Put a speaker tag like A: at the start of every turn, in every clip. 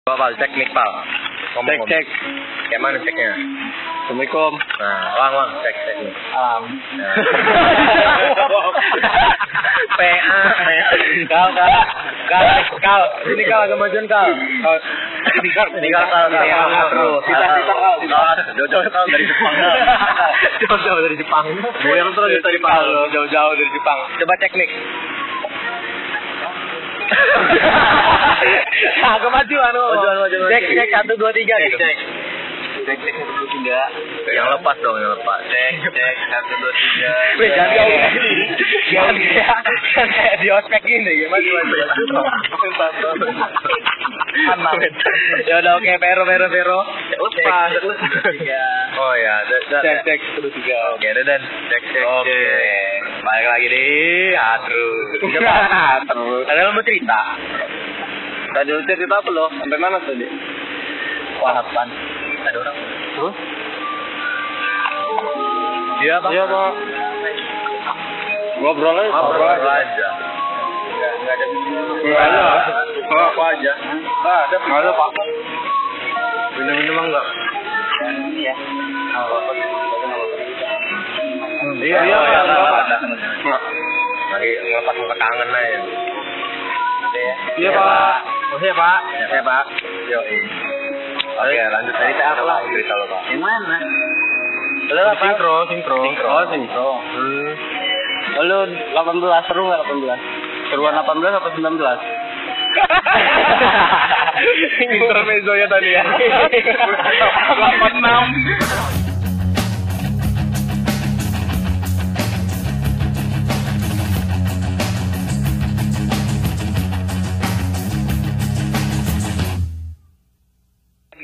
A: Pal, cek mic Pal.
B: Cek cek.
A: Kayak mana ceknya?
B: Assalamualaikum.
A: Nah, wang wang cek cek nih.
B: Alam.
A: Nah. PA.
B: Kal kal kal kal. Ini kal agak majuan kal. Kal. Ini kal.
A: Ini kal kal kal
B: Ya,
A: kal
B: bro. Kita kita kal. Kita.
A: Jojo kal dari Jepang. Kal.
B: Jauh-jauh dari Jepang.
A: Goyang terus kita di Jepang.
B: Kal, lo, Jauh-jauh dari Jepang.
A: Coba cek mic.
B: Agak maju anu.
A: Majuan, majuan,
B: Cek
A: majuan.
B: cek satu dua tiga
A: Cek
B: gitu.
A: cek.
B: Cek cek satu dua tiga.
A: Yang lepas dong, yang lepas. Cek cek satu dua tiga.
B: Weh, jangan jauh Jangan kayak- jangan kayak di ospek gini gimana Ya udah oke Vero Vero Vero. Lepas.
A: Oh ya, da- da-
B: Cek cek terus tiga.
A: Oke, ada dan cek cek.
B: Oke.
A: cek.
B: Balik lagi di Atru.
A: Atru.
B: Ada lo mau cerita?
A: Tadi lu cerita apa lo? Sampai mana tadi?
B: Walapan.
A: Ada orang.
B: Terus?
A: Iya bang.
B: Iya, Bang. Ngobrol aja.
A: Ngobrol aja. Enggak Iya, ada.
B: Nggak ada.
A: Ngobrol apa
B: Iya,
A: aja?
B: Nggak ada. Nggak ada, Pak.
A: Minum minum enggak?
B: Iya.
A: Iya
B: Iya,
A: oh,
B: iya,
A: nggak
B: nggak
A: apa-apa.
B: ada.
A: Lagi ngelepas ngelepas kangen aja.
B: Iya, Pak.
A: Oke pak. Oke pak. Yo. eh. Oke lanjut cerita apa lah? Cerita lo pak.
B: Yang mana?
A: Lo apa? Sinkro, sinkro.
B: Oh, sinkro. Oh, lu 18 seru nggak 18? Seruan 18 apa 19?
A: Intermezzo ya tadi
B: Iya.
A: ya.
B: 86.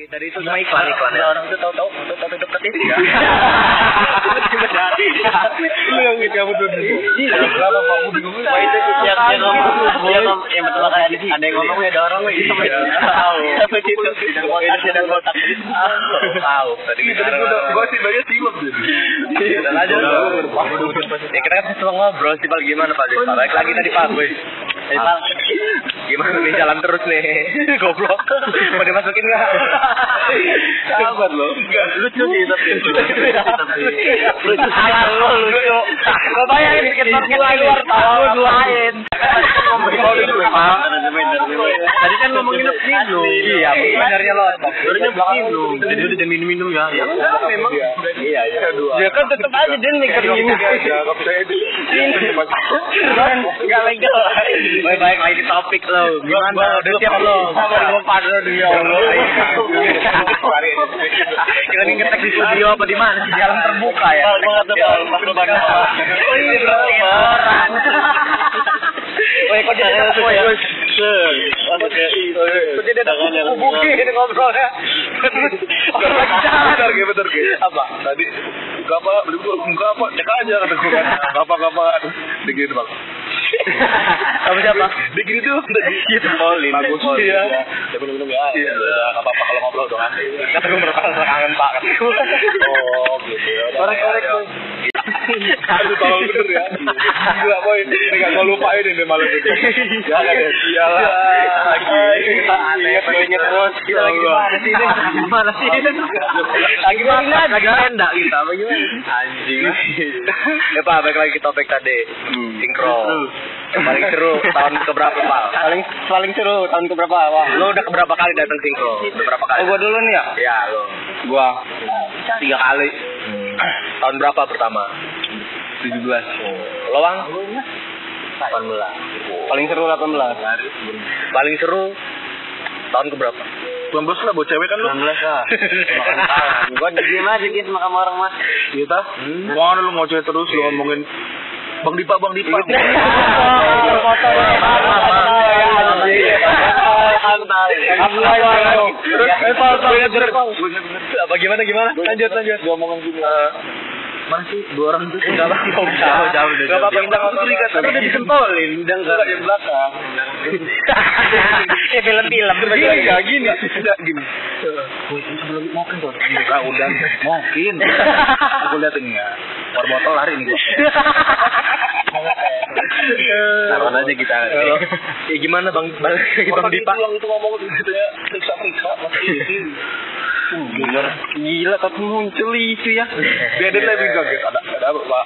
A: Dari Iya, itu cuma iklan iklan ya. Orang itu tahu-tahu untuk tapi deket itu ya.
B: Lu yang gitu kamu tuh.
A: Iya, kenapa, Pak? Gua bingung. Pak, itu yang- yang ngomong, yang ngomong- yang pertama kali ada- ada yang ngomong, ya ada orang, weh. Itu mah
B: Iya.
A: kita tahu.
B: Sampai situ.
A: Sidang botak, Iya, sidang botak. Tahu, tahu. Tadi kita orang-
B: banyak siwak
A: Iya, udah lanjut. Ya, kita kan cuma ngobrol sih Pak gimana Pak Desa? Balik lagi tadi Pak gue. Eh, Pak, gimana nih jalan terus nih? Goblok. Mau dimasukin enggak?
B: Sabar lo.
A: Lucu sih tapi.
B: Lucu salah lo lucu. Lo bayangin kita gua luar tahu duain.
A: Tadi kan ngomongin Nino.
B: Iya, sebenarnya lo.
A: Sebenarnya minum. Jadi udah minum-minum ya. Ya,
B: memang.
A: Iya, iya.
B: Ya kan tetep aja dia nikah minum. Enggak legal.
A: Baik, baik lagi topik lo. Gimana? Udah siap lo.
B: Sabar gua partner di ya Allah.
A: Kita di ngetek di studio apa di mana? Di jalan terbuka ya.
B: Bal, gua nggak tahu, Bal. Pas lu bakal apa.
A: Oh iya, bro.
B: Orang.
A: Woi, kok jadi
B: Tangannya
A: aku ya?
B: terus. Masuk ke-
A: Kok jadi ada
B: Tangannya langsung.
A: kubu-kubu ngobrolnya? Orang lagi jalan.
B: Bentar, Ge, bentar, Ge.
A: Apa?
B: Tadi enggak apa, beli gua enggak apa, cek aja kata gua kan. Enggak apa, enggak apa. Dikit, Bang.
A: Sama siapa? Gitu.
B: Dikit itu. Dikit.
A: Polin.
B: Bagus.
A: Polin,
B: Iya.
A: ya.
B: Ya minum-minum ya. Iya. Enggak apa-apa kalau ngobrol dong.
A: Kata gue merasa kangen pak kata gue.
B: Oh, gitu. ya. Udah,
A: Korek, korek,
B: ayo.
A: Boy.
B: Aduh, tolong bener ya. Gila, boy. Ini gak gua lupain ini malam itu. Ya, kan, ya. Iyalah. Lagi.
A: Kita aneh,
B: Ingat
A: pengennya
B: banyak, bos.
A: Kita lagi di mana sih ini? Di mana sih ini? Lagi makan, lagi tenda kita. Apa gimana? Anjing. Ya pak, balik lagi ke topik tadi.
B: Hmm.
A: Sinkro. Yang Paling seru tahun keberapa pak?
B: Paling paling seru tahun keberapa? Wah.
A: Lo udah keberapa kali datang sinkro? Udah berapa kali?
B: Oh, gua dulu nih ya.
A: Ya lo.
B: Gua
A: Tiga kali. Tahun berapa pertama?
B: 17.
A: Lo bang? 18.
B: Paling seru 18.
A: paling seru tahun keberapa?
B: 19 lah buat cewek kan lu. 19 lah.
A: Makan tangan.
B: Gua diem aja gitu sama orang mas. Iya tah? Wah lu ngoceh terus lu ngomongin Bang Dipa, Bang Dipa.
A: Foto, ya. Iya, Terus, eh, Pal, Pal, bener, Pal. Apa gimana gimana? Lanjut lanjut.
B: Gua ngomongin gini. Mana sih dua orang itu?
A: Enggak apa-apa, enggak usah. Enggak apa-apa, enggak apa-apa. Tapi udah disentolin, udah enggak.
B: Enggak, yang belakang.
A: Ya film-film.
B: Gini, ya, gini.
A: Enggak, gini.
B: sebelum mungkin tuh. Enggak, udah. Mungkin. Aku lihat ini ya. War botol lari nih gua.
A: Taruhan aja kita.
B: Iya.
A: Ya gimana Bang Bang Bang
B: Bang
A: Dipa?
B: Dipa. Itu ngomong gitu ya, periksa-periksa.
A: Gila tapi muncul itu ya.
B: Dia ada lebih kaget. Ada ada apa pak?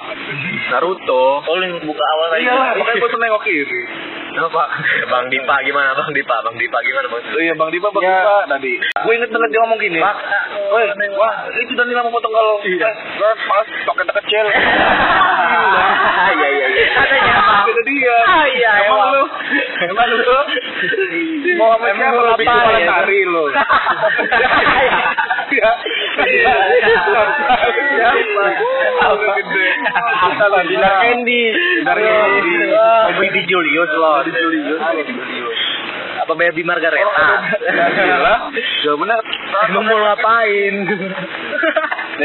A: Naruto.
C: Oh, yang buka awal tadi.
B: Iya, makanya gue tuh nengok kiri.
A: Apa? Bang Dipa gimana? Bang Dipa, Bang Dipa gimana Bang?
B: Oh iya Bang Dipa, Bang
A: Ya.
B: Dipa tadi. Gue inget banget dia ngomong gini.
C: Pak,
B: Woi, wah itu Dani lama potong kalau
A: Iya.
B: Eh, gue pas toketnya kecil.
A: Iya iya iya.
B: Katanya apa? Itu dia.
A: Ah, iya,
B: Emang
A: emang.
B: lu, emang lu mau sama
A: Emang
B: siapa
A: lu
B: lu kan?
A: lebih
B: bikin
A: kepala
B: malah tari
A: tari
B: lu?
A: Iya.
B: Iya. Iya. Iya. Apa? Apa
A: Apa?
B: lagi?
A: Dinar Candy.
B: Dinar Candy.
A: Wah.
C: Bobby di Julius loh.
B: Ah. Di Julius. Oh,
A: Apa Baby
B: Ah.
A: Margareta?
B: Gila. Gak bener.
A: Lu mau ngapain?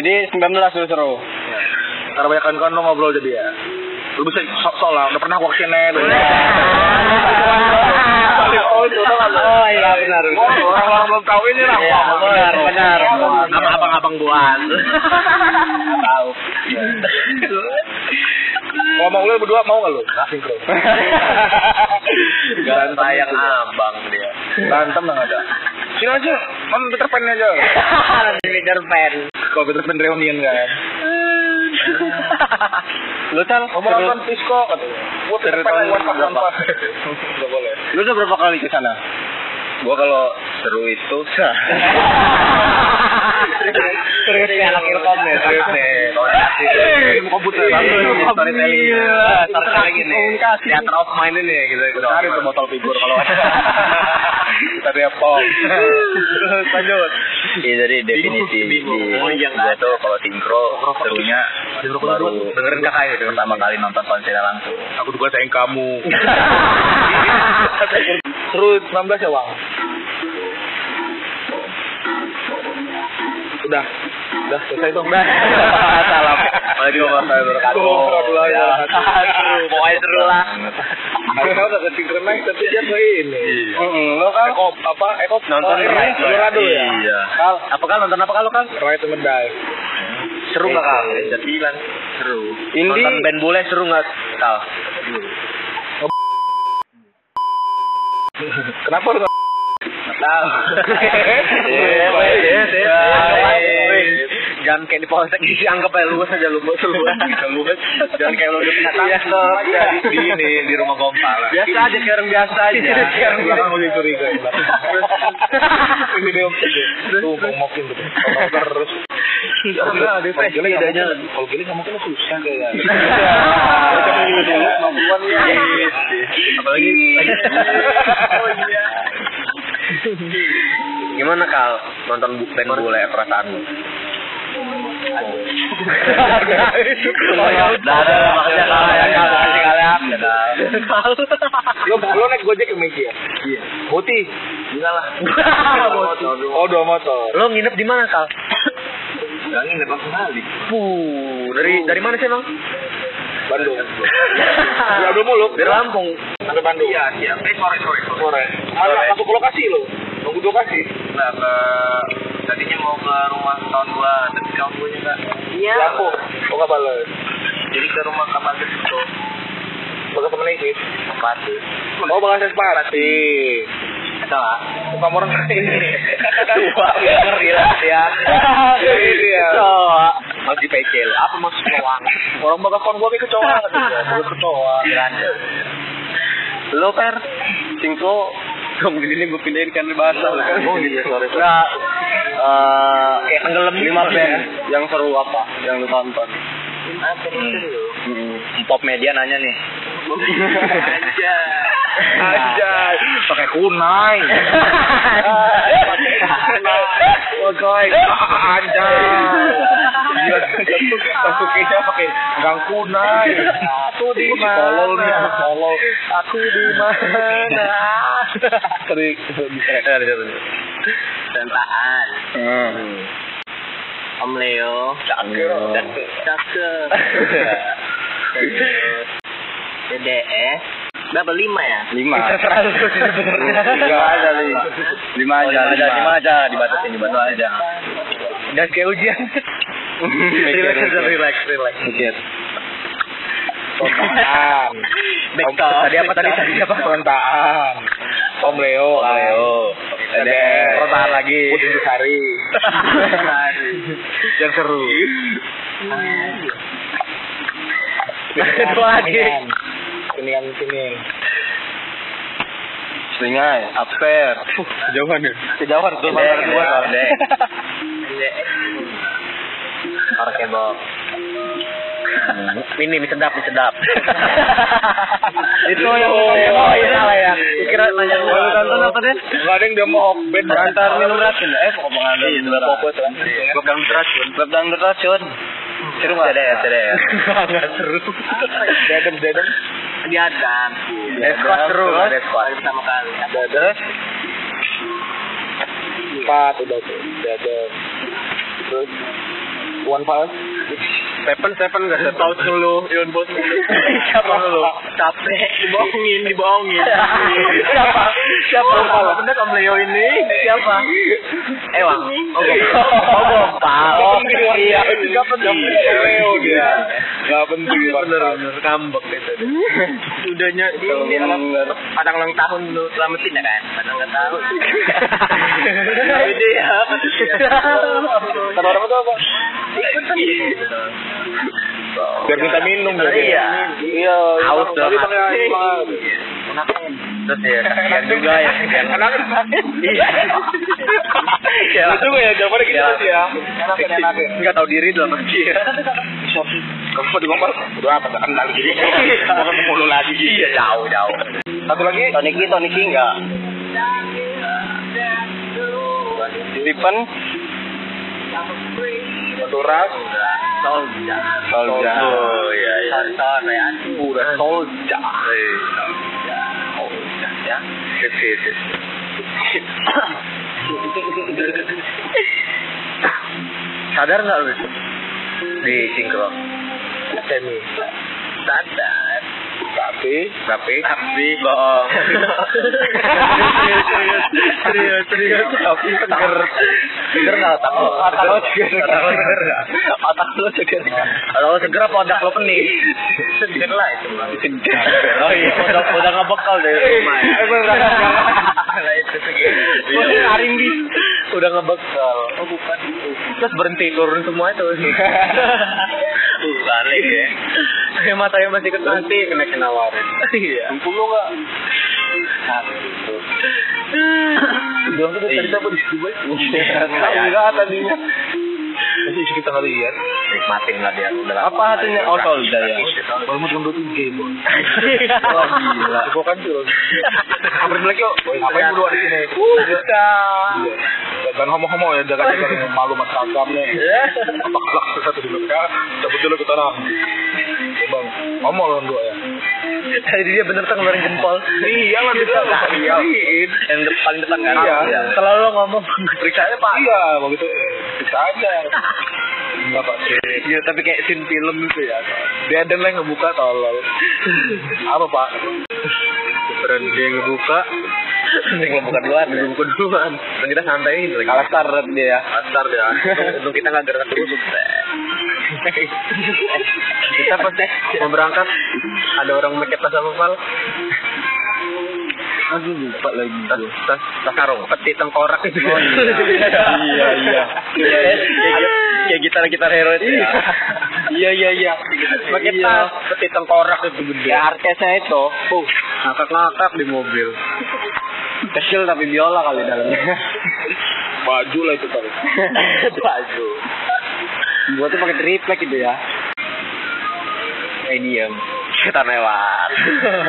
B: Jadi 19 seru seru. Karena banyak kawan-kawan lo ngobrol jadi ya. Lu bisa sok-sok lah, udah pernah waksinnya lu.
A: Oh, itu kan. Oh, iya, benar, benar.
B: Oh, Orang-orang belum tahu ini lah.
A: Iya, benar, benar. Sama abang-abang buan.
B: Tahu. Kalau mau lu berdua mau nggak lu? Kasih bro.
A: Jangan tayang abang dia.
B: Berantem lah nggak ada. Sini aja, mana Peter Pan aja.
A: Nanti Peter Pan.
B: Kalau Peter Pan reunian kan.
A: Lu tal,
B: Obrolan Pisco katanya. Gua Peter Pan
A: Ceritanya
B: lewat pas
A: berapa?
B: lompat. Nggak boleh.
A: lu udah berapa kali ke sana?
C: Gua kalau seru itu
A: Serius nih anak ilkom ya, nih, serius nih.
B: Ilmu komputer.
C: Iya,
A: Ilmu
B: Storytelling.
A: Iya, storytelling ini. Theater of mind ini gitu. gitu.
B: Cari tuh botol figur kalau ada. Tadi apa? Terus lanjut.
C: ya, Iya jadi definisi di
A: Oh, iya,
C: gua
A: kan?
C: tuh kalau sinkro serunya baru
A: Dengerin kakak itu.
C: pertama kali nonton konsernya langsung.
B: Aku juga sayang kamu. Seru 19 ya, Wang? Udah. Udah selesai dong.
A: Salam.
C: Waalaikumsalam warahmatullahi wabarakatuh.
B: Warahmatullahi wabarakatuh.
A: Seru, pokoknya seru lah.
B: Aku tahu gak ketinggalan naik tapi dia tuh ini.
C: Iya.
B: Mm-mm, Lo kan Eko apa? Eko
C: Nonton
B: oh, ini
C: Ride, Ride.
B: Colorado ya.
C: Iya.
B: Kal,
A: Apa kan nonton apa kalau kan?
B: Ride to Medai.
A: Seru nggak kal?
C: Jadi bilang seru.
B: Indi.
A: Nonton band bule seru nggak kal?
B: Kenapa lu?
A: Tahu. Eh,
B: Iya, baik, iya, iya.
A: Jangan kayak di polsek isi anggap aja luas aja lu bos lu. Jangan kayak lu udah punya tangkep.
B: Iya, di- di ini, di rumah gompal.
A: Biasa aja kayak orang biasa aja.
B: Biar orang mulai curiga. Ini dia Tuh, ngomokin tuh. Ngomong Terus.
A: Iya,
B: Ya, udah, ada
A: Kalau gini nggak
B: bedanya.
A: mungkin.
B: Kalau gini nggak mungkin lo susah kayaknya.
A: Iya.
B: Kita dulu dulu, kemampuan ya.
A: Iya.
C: Apalagi
B: Oh, iya.
A: Gimana kal nonton bu- band bule perasaan lu?
B: nah,
C: Dadah, maksudnya Kal, ya, Kal. Makasih, Kal, ya. Dadah.
B: Lo lo naik gojek ke Megi ya? Iya. Boti. Enggak lah. Oh, dua motor.
A: Lo nginep di mana kal?
B: Jangan dapat kembali.
A: Puh, dari dari mana sih emang?
B: Bandung. Ya udah mulu.
A: Dari Lampung.
B: Sampai Bandung. Iya, siap. Eh, sore, sore, sore. Sore. Mana
C: Sore.
B: masuk ke lokasi lo? Nunggu di lokasi.
C: Nah, ke tadinya mau ke rumah tahun gua, tapi kamu gua enggak.
B: Iya. Aku. Oh, nggak bales.
C: Jadi ke rumah kamar itu.
B: Bakal temen Isis.
C: Empat.
B: Oh, bakal saya sepati.
C: Salah.
B: Bukan orang
A: Iya, Tua, ngeri lah ya.
B: Ini
A: Iya.
B: dia.
A: Tua.
C: Mau di pecel. Apa maksud uang?
B: Orang bakal kon gua kayak kecoa. Gue kecoa.
A: Lo per singko dong jadi ini gue pindahin kan bahasa
B: lah.
A: Oh iya sorry. Nah, eh, kayak tenggelam ya? lima band yang seru apa yang lu tonton? Pop Hmm. media nanya nih.
C: Aja.
B: Aja. Pakai kunai.
A: Anjay.
B: Gila, Sasuke-nya pakai gang kunai.
A: Aku di
B: Ih,
A: mana?
B: tolol nih, anak tolol.
A: Aku di mana?
B: Trik.
C: Tentaan.
B: Hmm.
C: Om Leo.
A: Cakep.
C: Cakep. Terus. DDS. Berapa lima ya?
A: Lima.
B: Lima aja, Li.
A: Lima
C: Oh, lima aja, lima aja, dibatasin, dibatasin aja.
A: Dan kayak ujian. relax,
B: mikir.
A: relax, relax.
B: Mikir. Tontaan.
A: Back talk.
B: Tadi apa tadi? Tadi apa? Tontaan. Om Leo. Om
C: Leo.
A: LDR. Bertahan lagi.
B: Putus sehari.
A: Yang seru. Itu lagi.
B: Ini yang sini.
C: Seringai, upstairs.
B: Jauhan ya.
C: Kejauhan tuh
A: Pendek, pendek, pendek.
C: Orang kebok.
A: Hmm. Ini mie sedap, mie sedap.
B: Itu yang- Oh, iya.
A: salah ya. Kira nanya
B: Kalau tonton apa,
A: deh?
B: Enggak ada yang dia mau okbed berantar minum racun.
C: Eh, kok pengen
B: Iya, tetap fokus
A: kan.
B: lah.
C: Klub dangdut racun. Klub dangdut racun. Seru nggak? Ada ya, ada ya.
B: Enggak seru. Dedem dedem.
A: Dia ada. Deskos
C: Ada,
A: seru,
C: terus?
A: deskos. Sama kali.
C: Terus,
B: Empat udah tuh. Dedem. Terus One Five.
C: Seven Seven nggak
B: Tahu dulu, Ion Bos.
A: Siapa lu? Capek.
B: Dibohongin, dibohongin.
A: Siapa? Siapa?
B: Siapa?
A: Bener kamu Leo ini? Siapa? Ewang. Oke.
B: Oh,
A: Gopal.
B: Gak penting
A: Iya,
B: warga itu gak penting. Leo dia. Gak penting bener bener ngambek itu.
A: Sudahnya ini Padang ulang tahun lu selamatin ya kan? Padang ulang tahun. Jadi ya.
B: Kata orang itu apa? Biar minta minum ya,
A: Iya.
B: jadi. Iya.
A: Haus
B: dong.
A: dong.
B: Iya.
A: Terus ya, kasihan juga ya. kasihan. Iya.
B: Iya.
A: Iya.
B: Itu gue ya jawabannya gitu
A: Iya.
B: sih ya. Enak enak.
A: Enggak tahu diri dalam hati ya.
B: Kamu mau digombal? Udah apa kenal gini. Mau ketemu lu lagi.
A: Iya, jauh, jauh.
B: Satu lagi.
C: Toniki, Toniki
A: ya.
C: enggak. Stephen,
B: Honduras.
A: Solja.
C: Solja.
A: Oh, iya, iya. Tonton ya.
B: Udah solja.
A: Eh, Solja. Oh, ya. Sip, sip, sip. Sadar nggak lu di sinkron?
B: Semi.
A: Sadar.
B: Tapi.
A: Tapi tapi bohong.
B: Serius, serius, serius.
A: Tapi seger. Seger nggak otak lo?
B: Otak lo seger.
A: Otak lo seger nggak?
B: Otak lu seger.
A: Iya. Kalau lo seger apa otak lo pening? Seger lah itu. Oh iya, udah udah nggak bekal dari rumah. ya.
B: Eh, bener, bener, bener.
A: Lah itu seger.
B: Udah ngaring di.
A: Udah nggak bekal. Oh bukan. Terus berhenti turun semua itu. Balik ya. Kayak matanya masih kena nanti kena kena warin. Iya.
B: Kumpul lu nggak? Bilang tuh tadi apa di Dubai? Iya. Enggak tadinya. Nanti isi kita kali ya.
A: Nikmatin lah dia. Udah
C: apa
A: lama.
C: hatinya? Oh, Solja ya.
B: Baru mau tunggu tuh game.
A: Wah, gila.
B: Gua kan tuh. Kabarin lagi yuk. Apa yang berdua di sini?
A: Bisa.
B: Iya. Jangan homo-homo ya, jangan
A: Iya.
B: jangan malu mas kagamnya. Apa kelak satu dulu ya? Cabut dulu ke tanah. Ya, Bang, homo lo dua ya.
A: Tadi dia bener tuh ngeluarin jempol.
B: Iya lah bisa. Iya.
A: Yang depan depan kan.
B: Iya.
A: Selalu lo ngomong.
B: Periksaannya pak. Iya, begitu. Periksa aja. Enggak pak.
A: Iya, tapi kayak scene film itu ya.
B: Dia ada yang ngebuka tolol. Apa pak?
C: Keren dia ngebuka,
A: Mending lo buka duluan. ya.
C: ngebuka duluan. Dan kita santai gitu.
B: Kalah start dia.
C: Kasar ya.
A: Untung kita nggak gerak dulu sukses.
C: Kita pas mau berangkat, ada orang pakai tas apa pal?
B: Aduh lupa lagi.
C: Tas, tas, tas karung. Peti tengkorak itu.
B: Oh, iya. Iya, iya.
A: Kayak- kayak- Kayak gitar-gitar hero itu ya.
B: Iya iya iya.
C: Pakai tas, peti tengkorak itu gede.
B: Ya artesnya itu. Uh,
C: ngakak-ngakak di mobil.
B: kecil tapi biola kali dalamnya. Baju lah itu kali.
A: Baju.
B: Buat tuh pakai triplek gitu ya.
A: Medium. Kita lewat.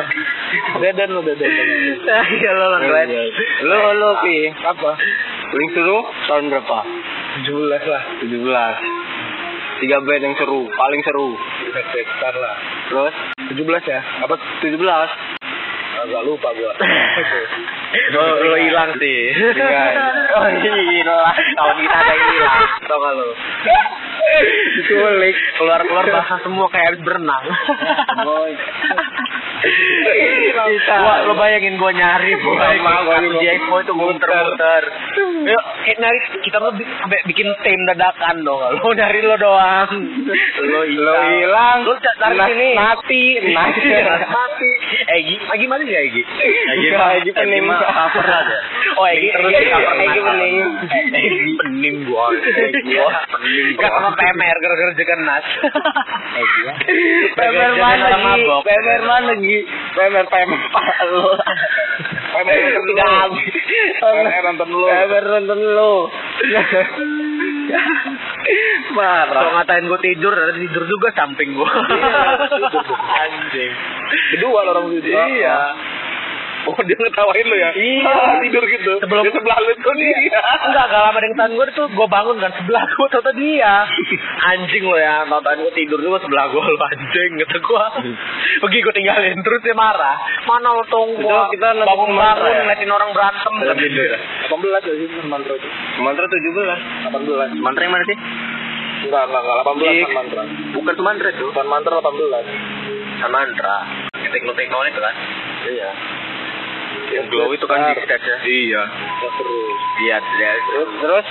B: Dedan lo dedan.
A: Iya lo lo
B: Iya, iya.
A: Lo lo pi.
B: Apa?
C: Paling seru tahun berapa?
B: 17 lah.
C: 17. Tiga band yang seru, paling seru.
B: Sekitar lah.
C: Terus
B: 17 ya?
C: apa 17?
A: Ah,
B: Agak lupa gua.
A: Lo lo hilang sih.
C: Dengan.
A: Oh hilang. Tahun kita ada yang hilang. Tau gak lo? Diculik. Keluar keluar basah semua kayak habis berenang.
B: Boy.
A: Gua, lo bayangin gua nyari gua nyari di Expo itu gua muter-muter. Yuk, kayak nyari kita tuh bi- sampai bikin tim dadakan dong. Lo nyari lo doang. Lo
B: Lo hilang.
A: Lo cak dari
B: Nas-
A: sini.
B: Nati, nati.
A: Mati. Egi, Egi mana sih Egi?
C: Egi
B: mah-
A: Egi pening.
C: Egi mah cover aja.
A: Oh Egi
C: Terus
A: Egi
C: cover
A: Egi
C: mata.
A: pening.
C: Egi pening gua. Egi gua pening
A: Gak Iya. sama PMR gara-gara jekan nas. PMR mana lagi? PMR mana lagi?
B: Pemer, pemer.
A: Lo.
C: Eh,
B: Pemer Eh, nonton dulu.
A: Udah habis.
B: Pemer nonton dulu.
A: PMR nonton lo. Marah.
C: Kalau ngatain gua tidur, ada tidur juga samping gua.
B: Iya,
A: Anjing.
B: Berdua lo orang itu.
A: Iya.
B: Oh dia ngetawain lo ya?
A: Iya.
B: Tidur gitu.
A: Sebelum- Iya.
B: Di sebelah lo tuh dia.
A: Enggak, gak lama dengan tangan gue tuh gue bangun kan sebelah gue tau dia. Anjing lo ya, nonton gue tidur dulu sebelah gue lo anjing kata gue. Pergi gue tinggalin terus dia marah. Mana lo tunggu
B: Itu
A: gua
B: kita nanti
A: bangun-bangun
B: marah ya?
A: ngeliatin orang berantem.
B: ya? 18 ya sih mantra itu.
C: Mantra
B: 18.
C: 17. Mantra yang mana sih?
B: Enggak, enggak, enggak. 18 kan
C: Di-
B: mantra.
C: Bukan tuh mantra tuh.
B: Bukan mantra 18.
A: Nah,
C: Bukan mantra. Tekno-tekno itu kan.
B: Iya.
C: Yang glow itu kan di stage ya. Iya.
B: Ya, terus.
C: Iya, iya.
B: Terus, terus.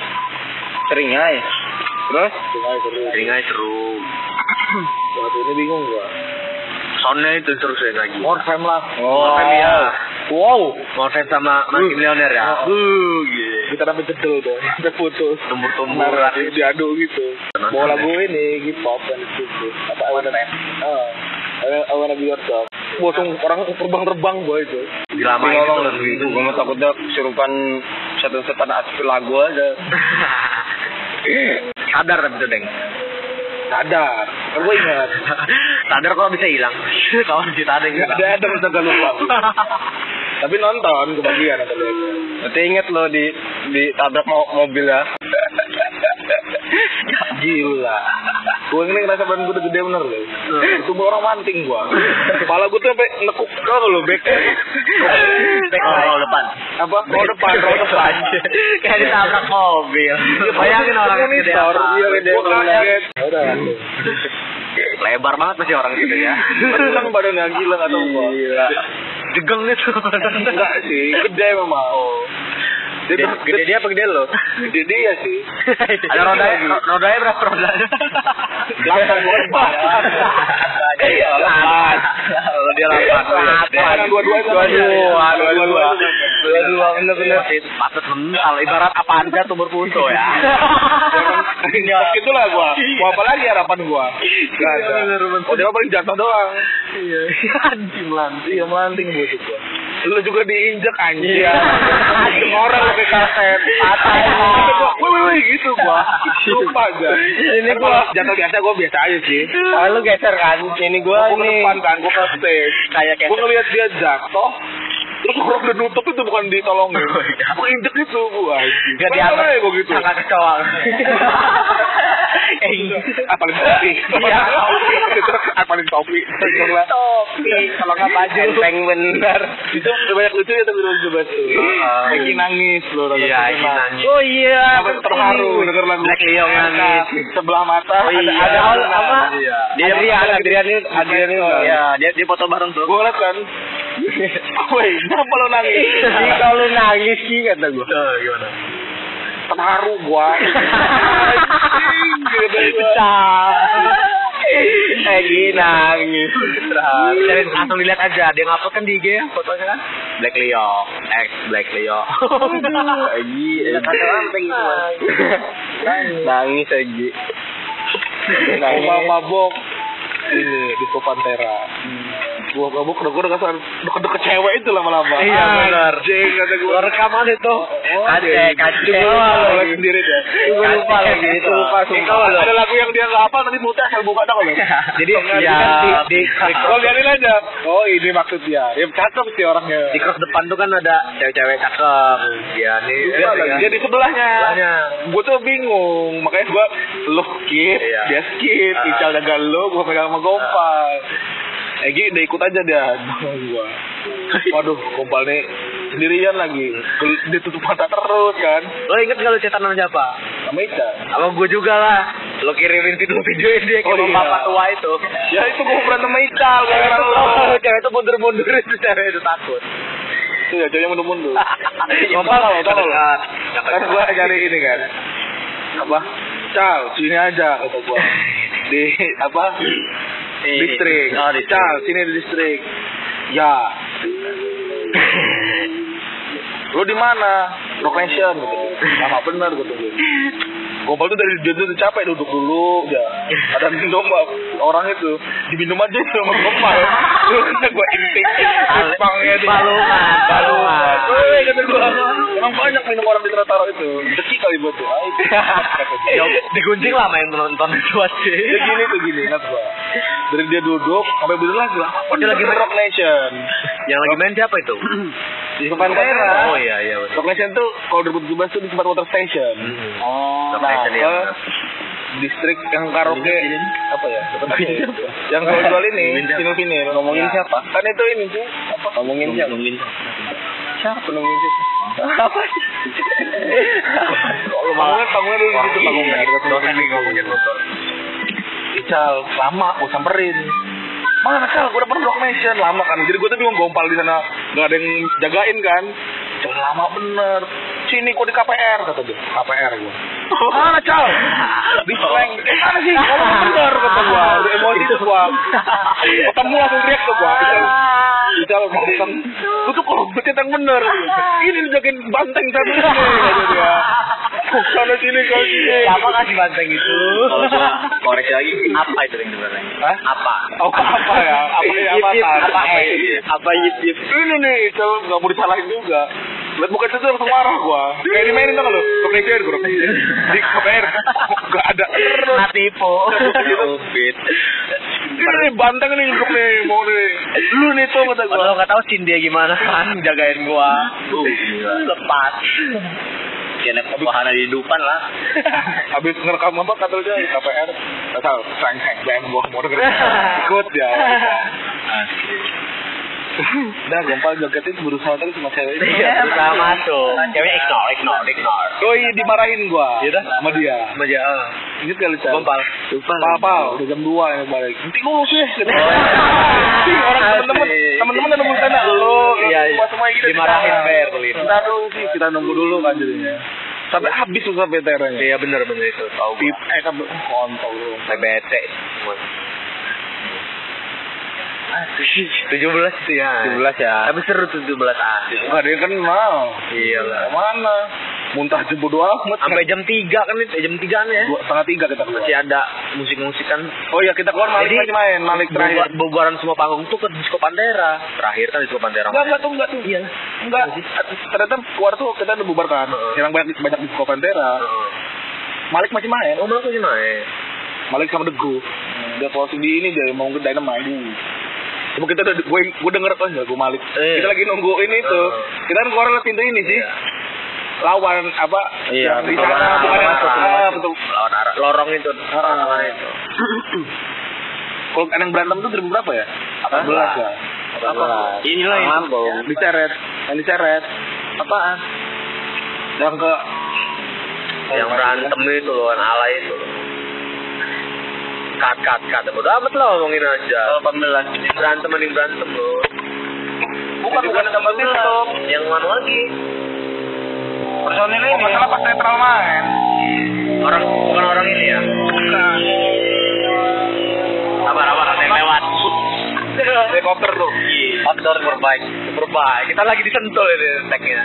C: Sering aja.
B: Terus? Dengar terus.
C: Sering aja seru.
B: Waktu ini bingung gua.
C: Soundnya itu terus ya lagi.
B: Morfem lah.
C: Morfem ya.
B: Oh. Wow.
C: Morfem sama Mas Milioner ya. Uh, gitu.
B: Kita sampai jedel dong. Sampai putus.
C: Tumbuh-tumbuh.
B: iya. Nah, diadu gitu.
C: Tenang,
B: Bawa lagu
C: tenang.
B: ini, hip hop dan gitu. Apa I wanna Oh. I wanna be your dog. Gua langsung orang terbang-terbang gua itu.
C: Dilamain itu
B: Dilolong
C: lagu itu.
B: Gua mau takutnya kesurupan satu setan asli lagu aja.
C: Sadar tapi tuh, Deng.
B: Sadar. Kan gua ingat.
C: Sadar kalau bisa hilang. Kawan kita ada yang
B: Gak ada
C: hilang.
B: ada bisa gak lupa. Tapi nonton kebagian atau lupa. Nanti inget lo di di tabrak mobil ya. Gila. Gue ini ngerasa badan gue udah gede bener loh.
C: Hmm.
B: Itu orang manting gue. Kepala gue tuh sampai nekuk kau lo back.
C: Back roll depan.
B: Apa? Roll depan, roll depan.
C: Kayak ditabrak mobil. Bayangin orang yang gede
B: Monitor,
C: apa.
B: Iya gede
C: Gua kaget.
B: banget. Ya udah.
C: Lebar banget masih orang gitu ya.
B: Kan badannya gila atau gue.
C: Gila. Degeng itu.
B: Enggak sih, gede memang. Oh.
C: Gede- gede
B: dia apa gede lo? Gede dia sih.
C: Ada roda, rodanya berapa rodanya?
B: Belakang gua empat.
C: Iya, delapan. Kalau dia delapan.
B: Delapan, Iya, dua-dua itu aja.
C: Dua-dua, dua-dua.
B: Dua-dua, bener-bener.
C: Masih patut mental. Ibarat apa aja tumbuh punto ya. Iya.
A: Iya.
B: Ya, itulah gua. Mau apa lagi harapan gua? Gak ada. Oh, dia paling jatuh doang.
A: Iya. Anjing lantai.
B: Iya, melanting gua juga. Lu juga diinjek anjir.
A: Iya.
B: Orang lebih kaset.
A: Patah.
B: Tapi gua, Wih, wih, wih, gitu gua. Lupa aja.
A: Ini
B: Kan
A: gua-
B: kalau jatuh biasa gua biasa aja sih.
A: Ah, lu geser kan? Ini gue
B: Gua ke
A: ini.
B: depan kan, gua ke stage.
A: Kayak kayak.
B: gue ngeliat dia jatuh terus orang udah nutup itu bukan ditolongin
A: Oh, iya.
B: gue injek itu gue
A: Gak dianggap.
B: gue gitu
A: Sangat kecoa. Eh,
B: apalagi topi
A: Iya.
B: itu apalagi topi
A: topi. Kalau nggak baju. Enteng bener.
B: itu udah banyak lucu ya tapi lucu banget tuh
C: Heeh.
B: Egi nangis loh
C: Iya, Egi nangis.
A: Oh iya.
B: Sampai terharu denger lagu
C: Black Leo nangis.
B: sebelah mata
C: Oh, iya.
B: ada
A: Ada
B: ada
A: apa?
B: Iya.
A: Adrian, Adrian ini, Adrian
B: Oh,
A: ini.
C: Iya, dia dia foto bareng tuh.
B: gue ngeliat kan woi kenapa lo
C: Iya,
B: nangis
A: Ini kalau lu nangis sih kata gue.
B: Iya,
C: gimana?
B: terharu gua gitu.
C: Eh,
A: Egi nangis.
C: Terus Iya, langsung dilihat aja, dia ngupload kan di IG ya fotonya kan? Black Leo, X Black Leo. Lagi,
A: kata orang
C: gitu,
A: pengen gua.
B: nangis lagi nangis Iya.
A: Gua
B: Nah, mabok ini di Pantera gua mabok udah gua udah kasar deket-deket cewek itu lama-lama
A: Iya, benar.
B: anjing kata gua iya,
A: Gua rekaman itu.
B: Oh,
C: Kacek, kacek.
B: Gua
A: Lupa
B: lupa
A: lagi.
B: sendiri deh
A: Gua lupa lagi, itu lupa, sumpah.
B: ada lagu yang dia nggak apa nanti muter asal buka dong
A: Jadi ya
B: Tengah
A: di
B: diganti.
A: di di
B: kan Oh biarin aja. Oh ini maksudnya. Ya cakep sih orangnya.
C: di cross depan tuh kan ada cewek-cewek cakep. Iya nih.
B: Dia, dia di sebelahnya.
C: Sebelahnya.
B: Gue tuh bingung, makanya gue lo skip,
C: Iya.
B: dia skip,
C: Ah.
B: Ical jaga lo, gue pegang sama gompal. Egi udah ikut aja dia, gue. Waduh, gompal nih sendirian lagi, Gel- dia tutup mata terus kan,
C: Lo inget gak lo cetan sama siapa?
B: sama Ical.
C: Sama gue juga lah.
A: Lo kirimin video-video dia ke
B: Oh, iya.
A: bapak tua itu.
B: Ya itu gue berantem sama Ical
A: Cewek
B: karena
A: itu-
B: lo.
A: Cewek itu mundur-mundur itu cewek itu takut.
B: Itu ya cowoknya mundur-mundur. Iya,
A: Ngomong
B: tolol, tolol.
A: Dekat.
B: Kan gue cari ini kan. Apa? Cal, sini aja kata gue. Di apa? Eh,
A: Di-
B: Distrik.
A: Oh, distrik.
B: Cal, sini di distrik. Ya. Lo di mana? Rock Nation gitu. Sama benar gitu. Gopal tuh dari dia tuh capek duduk dulu ya. Ada minum Bang. orang itu diminum aja itu sama Gopal. Terus gue intik Jepangnya dia.
A: Balungan, balungan.
B: Woi kata gue emang banyak minum orang di Trataro itu. Deki kali buat tuh. Ay,
A: Ya, digunjing lah main nonton itu aja.
B: Dia gini tuh gini, ingat gua. Dari dia duduk sampai bener lagi lah.
A: Oh, dia lagi main-
B: Rock Nation.
A: Yang lagi main siapa itu?
B: Di Pantera.
A: Oh iya iya. betul.
B: Rock Nation tuh kalau 2017 tuh di tempat water station. Oh,
A: Rock Nation, iya, benar.
B: distrik yang karaoke
A: Ini, ini.
B: apa ya? Apa ya? yang kalau jual ini,
A: Ini siapa?
B: sini sini ngomongin
A: Ya.
B: siapa? Kan itu ini sih apa? Ngomongin siapa? Ngomongin siapa? Ngomongin siapa? Apa? sih? Kalau bangunnya bangunnya dulu gitu bangunnya.
C: Dosen nih ngomongin motor.
B: Ical lama gue samperin mana Cal gue dapet Rock Nation lama kan jadi gue tuh bingung gompal di sana gak ada yang jagain kan Cal lama bener sini kok di KPR kata dia KPR gue
A: Ah,
B: mana Cal di slang eh mana sih ngomong bener kata gue udah emosi tuh gue ketemu langsung teriak tuh gue Ical Ical ngomong gue tuh kalau berarti yang bener ini dijagain banteng sana sini kata dia sana sini kau sini
A: Siapa kasih banteng itu?
C: Kalau cuma koreksi lagi, apa itu yang sebenarnya?
B: Hah?
C: Apa?
B: Oh, apa ya? Apa ya? Apa
A: ya, Yip, yip,
B: Tan?
A: apa, eh?
B: ini?
A: Apa yip yip?
B: Ini nih, coba nggak mau disalahin juga. Lihat muka itu langsung marah gua. Kayak dimainin tau nggak lu? Gue kejar, gue kejar. Di KPR, nggak ada. Terus.
A: Natipo.
C: Ubit.
B: Ini nih banteng nih duduk nih, mau nih. Lu nih tuh kata gua.
A: Padahal nggak tahu Cindy gimana kan jagain gua.
C: Uh, gila.
A: Lepas.
C: Kena wahana di dupan lah.
B: Habis ngerekam apa kata lu dia di KPR. Asal, sang sang, BM gua mau dengerin. Ikut ya.
C: Asli.
B: Dah, gompal jogetnya berusaha tadi sama cewek itu.
A: Iya, berusaha masuk.
C: Ceweknya ignore, ignore, ignore.
B: Doi dimarahin gua.
A: Iya dah.
B: Sama dia.
A: Sama ah. aja.
B: Ingat gak lu, Cal?
A: Gompal. Lupa.
B: Pal, pal, udah jam 2 yang balik. Nanti lu sih. gitu.
A: Oh.
B: Nanti orang temen-temen,
A: Asik.
B: temen-temen udah nunggu sana. Lu,
A: Iya, iya.
B: semua semua gitu.
A: Dimarahin,
B: Nah,
A: Fer, beli.
B: Ntar dulu sih, kita nunggu dulu kan jadinya. Sampai habis tuh sampai teranya.
A: Iya bener bener itu. Iya. Tahu
B: Pip, eh kan kontol lu.
A: Saya bete. Tujuh belas ya.
C: 17 ya.
A: Tapi seru tujuh belas ah.
B: Gak ada yang kenal.
A: Iya lah.
B: Kemana? Muntah jemput doa amat.
A: Sampai jam tiga kan itu jam tigaan ya.
B: Dua- setengah tiga kita keluar.
A: Masih ada musik-musikan.
B: Oh iya kita keluar Malik
A: Jadi,
B: lagi main, Malik terakhir.
A: Bubar- Bubaran semua panggung tuh ke Disko Pantera. Terakhir kan Disko Pantera.
B: Enggak, enggak tuh, enggak tuh.
A: Iya.
B: Enggak, ternyata keluar tuh kita udah bubar kan. Yang banyak banyak di Pantera. Malik masih main.
A: Oh, malah aku sih naik.
B: Malik sama Degu dia closing di ini dia mau ke Dynamite Cuma kita udah, gue, gue denger, oh ya gue Malik
A: Iya.
B: Kita lagi nunggu ini tuh
A: Heeh.
B: Kita kan keluar lewat pintu ini sih
A: Iya.
B: Lawan apa
A: Iya,
B: yang di sana bukan yang ah, betul
A: Lawan arah lorong itu. Lawan itu.
B: Kalau yang berantem tuh ribu berapa ya? 18 ya? Apa?
C: Inilah yang
B: Diseret Yang diseret
A: Apaan?
B: Yang ke
A: yang berantem itu loh, yang alay itu loh. Kat, kat, kat. Bodo amat lo ngomongin aja.
B: Oh,
C: 18.
A: Yang berantem, mending berantem lo.
B: Bukan, bukan yang sama Tiktok
A: Yang mana lagi? Oh,
B: Personil ini Masalah pas netral main
A: Orang, bukan orang ini ya? Sabar, sabar, ada yang lewat.
B: Helikopter tuh
A: Outdoor berbaik, berbaik. Kita lagi disentul ini tagnya.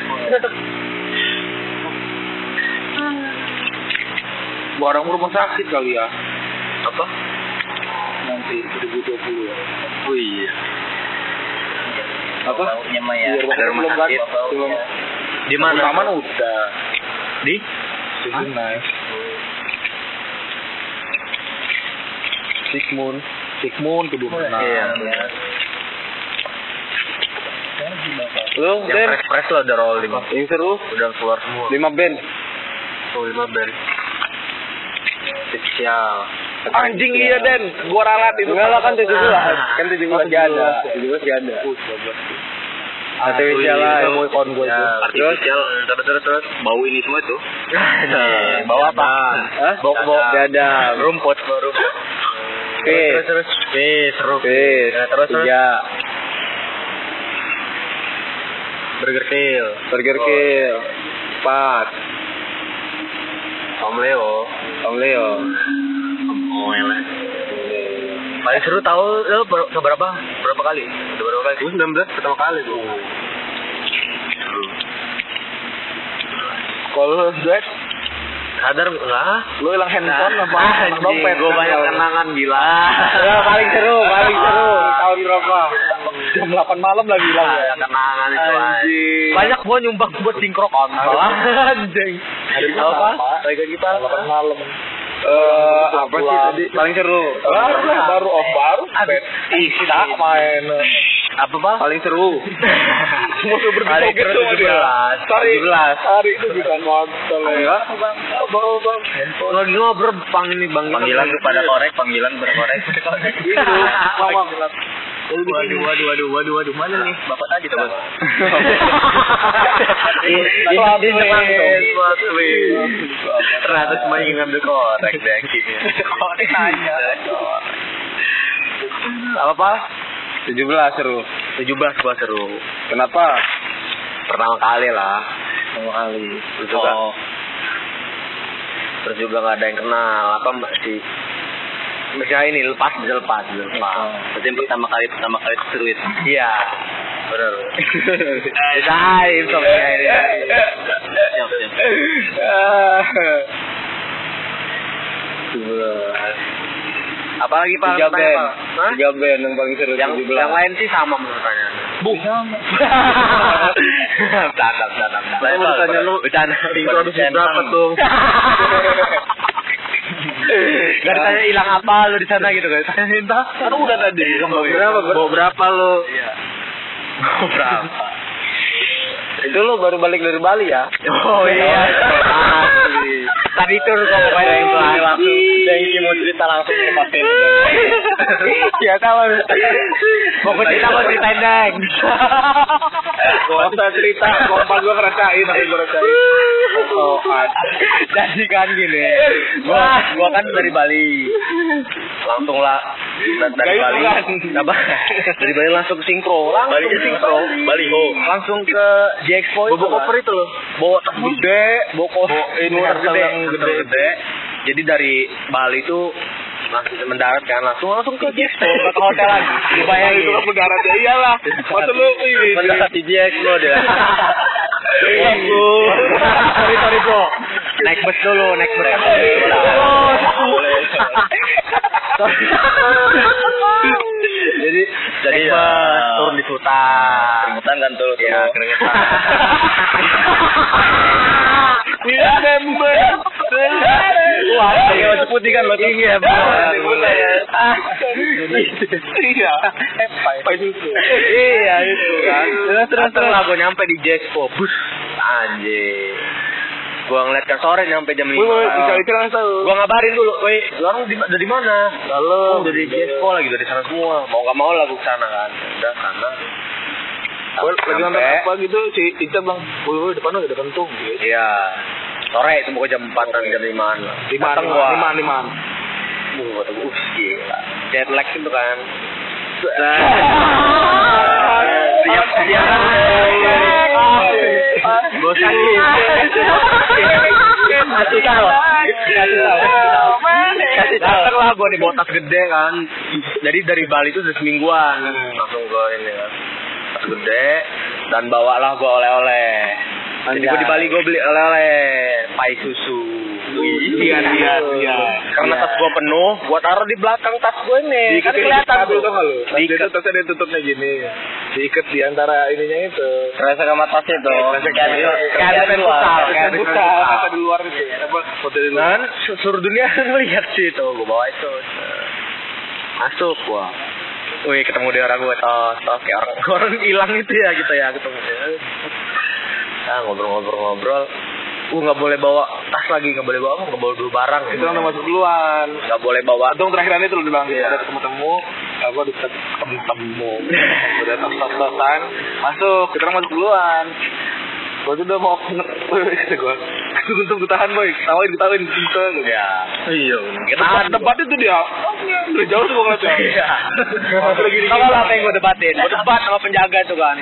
B: Gua orang rumah sakit kali ya
A: Apa?
B: nanti 2020 ya.
A: Oh iya. ya,
B: Apa? Iya, rumah
A: Ada
B: sakit
A: rumah
B: belum kan?
A: sakit.
B: Belum.
A: Di mana?
B: Taman udah.
A: Di?
B: Season nice. Sigmund, Sigmund ke
A: Iya.
B: Lu,
A: Yang
B: Ben,
A: press press lo ada roll lima.
B: yang seru,
A: Udah keluar semua.
B: lima band.
A: Oh lima band. Spesial.
B: Anjing iya Den, gua Ah. ralat itu. Enggak lah kan 17. Kan 17 gak ada. 17 gak ada.
A: Ah,
C: Artificial lah ilmu kawan gue itu. Terus?
A: Nah, iya. artificial hmm, ya. terus terus terus bau ini semua Eh, tuh nah.
C: Bawa apa? Hah? Bawa bawa dada.
A: rumput bau rumput
C: Terus terus.
A: Pis, rumput
C: Terus.
A: Ya, terus, terus.
C: Tiga.
A: burger kill
C: Burger
B: Oh.
C: Kill. Empat.
A: Om Leo
C: Om Leo.
A: Oh, elah. Paling seru tahu lo ber- keberapa? Berapa kali? Udah berapa kali? Gue 19 pertama kali tuh.
B: Kalau lu Jack,
A: Sadar enggak?
B: lu hilang handphone apa?
C: Nah,
B: hilang dompet? kan?
A: gue banyak kenangan gila. Ah,
C: Ya, paling seru, paling seru. Tahun berapa?
B: Jam 8 malam lagi hilang ya.
C: Ah,
A: Banyak kenangan itu. anjing.
C: Anjing.
A: Banyak gue nyumbang buat singkrok on. Anjing.
B: apa?
A: Apa? Lagi kita.
B: 8 malam.
C: Eh, apa sih tadi? Paling seru.
B: Baru lah, baru oh baru.
A: Aduh.
B: Ih, tak main.
A: Apa, Bang?
C: Paling seru.
B: Semua tuh
A: Paling
B: berjoget
A: seru
B: gitu sama dia.
A: 17.
B: Sorry,
C: 17.
B: sorry itu bukan motor ya. Bang, bang, bang.
A: Oh, Lagi ngobrol bang ini bang panggilan kepada korek panggilan berkorek
B: Itu, mama.
A: waduh waduh waduh waduh waduh mana nih bapak tadi tuh bos Iya,
C: Di- di- di-
A: ternyata cuma ingin ngambil korek ya. deh akhirnya korek aja apa apa
C: 17 seru.
A: tujuh belas gua seru
C: Kenapa?
A: pertama kali lah
C: Sama kali.
A: terus juga terus juga nggak ada yang kenal apa masih misalnya ini lepas bisa lepas bisa lepas
C: Iya.
A: berarti yang pertama kali pertama kali itu seru itu iya benar bisa aib soalnya ini
C: Iya.
A: siap siap apalagi pak
C: Iya. Tiga
A: Tanya,
C: band.
A: Pak. Hah?
C: Tiga band yang paling seru
A: yang
C: 17.
A: yang lain sih sama menurut saya
B: Bung.
A: bercanda bercanda
C: Saya mau tanya lu,
A: bercanda
C: sinkronisasi berapa
A: tuh Gak ditanya hilang apa lu di sana gitu guys. Entah.
B: Kan udah tadi.
C: Bawa berapa, Bro?
A: Bawa berapa lu?
B: Iya.
A: Bawa berapa?
C: Itu lo baru balik dari Bali ya?
A: Oh iya. Asli. Tadi itu lu mau main yang
C: Thank you,
A: langsung.
C: langsung. Thank you, mau cerita langsung ke Mas Denny.
A: Ya
B: Iya,
A: tahu. Mau gue cerita mau ceritain deng.
B: Gak usah cerita, kompas gue ngerasain, tapi gue ngerasain. Sosokan.
A: Jadi kan gini. Gua gua kan dari Bali. Langsung lah dari dari
B: Gayung
A: Bali.
B: kan?
A: Apa? Dari Bali langsung ke Singkro. Langsung ke Singkro.
B: Baliho.
A: Langsung ke Jexpo itu.
B: Bobo koper
A: itu loh. Bawa tas gede, bawa koper.
B: ini
A: bawa
B: harga yang gede.
A: gede. Jadi dari Bali itu langsung mendarat kan langsung langsung ke Jexpo ke hotel lagi. Lu
B: Bayangin itu kan
A: Bayangin.
B: mendarat ya iyalah. Waktu lu ini.
A: Mendarat di Jexpo dia.
B: Waduh.
A: sorry sorry bro naik bus dulu naik bus
B: Boleh.
A: Sorry. jadi jadi eh,
C: Naik bus,
A: turun
C: turun
A: di sultan
C: Keringetan kan tuh.
A: ya
C: tuh.
A: keringetan
B: December.
A: Wah,
C: Pakai baju putih kan lo tuh?
A: Iya, Bro.
B: Baju putih ya.
A: Ah.
B: Iya. Pak Susu.
A: Iya, itu kan.
C: Terus, terus,
A: Atau lah gua nyampe di Jexpo, bus. Anjir. Gua ngeliat kan sore nyampe jam
B: Woi, woi, bisa
A: 5.
B: dicerang tahu.
A: gua ngabarin dulu, woi, lu orang di, dari mana? Lalu dari Jespo lagi dari sana semua. Mau gak mau lah gua kesana kan. Udah sana.
B: Gue lagi nonton
A: Sampai-
B: apa gitu, si Ica bilang, woi, woi, depan lu ada kentung. Gitu.
A: Iya. Sore itu pokoknya jam 4 an jam 5 an lah.
B: Limaan,
A: Datang gua.
B: limaan, limaan.
A: Wuh, kata gua, "Ups, gila. Jet lag itu kan. Siap siap. Gua sakit. Kan, Kasih tahu. Kasih tahu. Kasih tahu lah gue nih bawa tas gede kan. Jadi dari Bali itu udah semingguan langsung gue ini kan. Tas gede dan bawalah gue oleh-oleh. Jadi gue di Bali gue beli oleh-oleh pai susu.
B: Iya, iya, iya.
A: Karena tas gue penuh, gue taruh di belakang tas gue nih. Kan kelihatan
B: tuh
A: tuh.
B: kan lu. Diikat.
A: Diikat.
B: Itu tasnya dia tutupnya gini. Diikat di antara ininya itu.
C: Kerasa sama tasnya tuh.
A: Kayak ada
C: luar.
A: futsal, kayak ada
B: Buka,
A: futsal.
B: kata di luar itu. Apa? Foto di luar.
A: Dan seluruh dunia melihat sih itu, gue bawa itu. Masuk gua. Wih ketemu dia orang gue tos tos kayak orang orang hilang itu ya gitu ya ketemu dia. Nah ngobrol-ngobrol-ngobrol. Uh nggak boleh bawa tas lagi nggak boleh bawa apa, nggak boleh bawa barang.
B: Itu kan udah masuk duluan.
A: Nggak boleh bawa
B: Untung terakhiran itu lu bilang
A: Iya.
B: ada ketemu temu gua ditemu udah tos-tos-tosan masuk kita orang masuk duluan gua tuh udah mau kata gua tunggu tunggu tahan boy ketawain ketawain kita ya
A: Iya. Kita
B: debat debat itu dia udah jauh tuh gua ngeliatnya Iya.
A: Kalau Iya. apa yang gue debatin? Gue debat sama penjaga itu kan.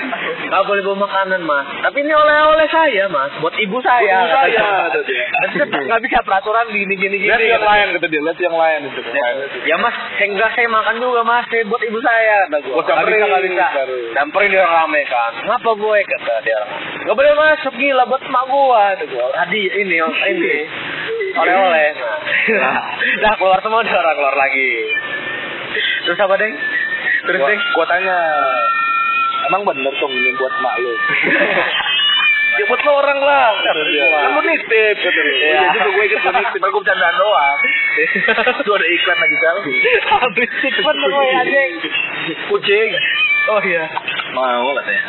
A: Gak boleh bawa makanan mas. Tapi ini oleh-oleh saya mas. Buat ibu saya.
B: Buat ibu saya, kata dia.
A: Gak bisa peraturan Iya, gini gini gini.
B: lihat yang
A: kata
B: lain kata dia lihat yang lain itu
A: dia. Ya mas, saya enggak saya makan juga mas. Saya buat ibu saya. Kata gue.
B: Gua
A: Gak
B: samperin,
A: bisa gak bisa.
B: baru.
A: Samperin dia orang rame kan. Ngapa gue kata dia orang. Gak boleh masuk gila buat emak gue. Kata gue. Tadi ini ini. Oleh-oleh. Nah keluar semua dia orang keluar lagi. Terus apa deng? Terus
B: Gua-
A: deng?
B: gua tanya emang bener tuh ini buat mak lu ya buat lo orang lah kata dia.
A: Iya.
B: kan lu nitip kata dia.
A: Iya.
B: iya juga gue ikut lu nitip padahal gue bercandaan doang itu ada iklan lagi kan
A: Habis cepat lu gue anjing.
B: kucing
A: Oh iya.
B: mau katanya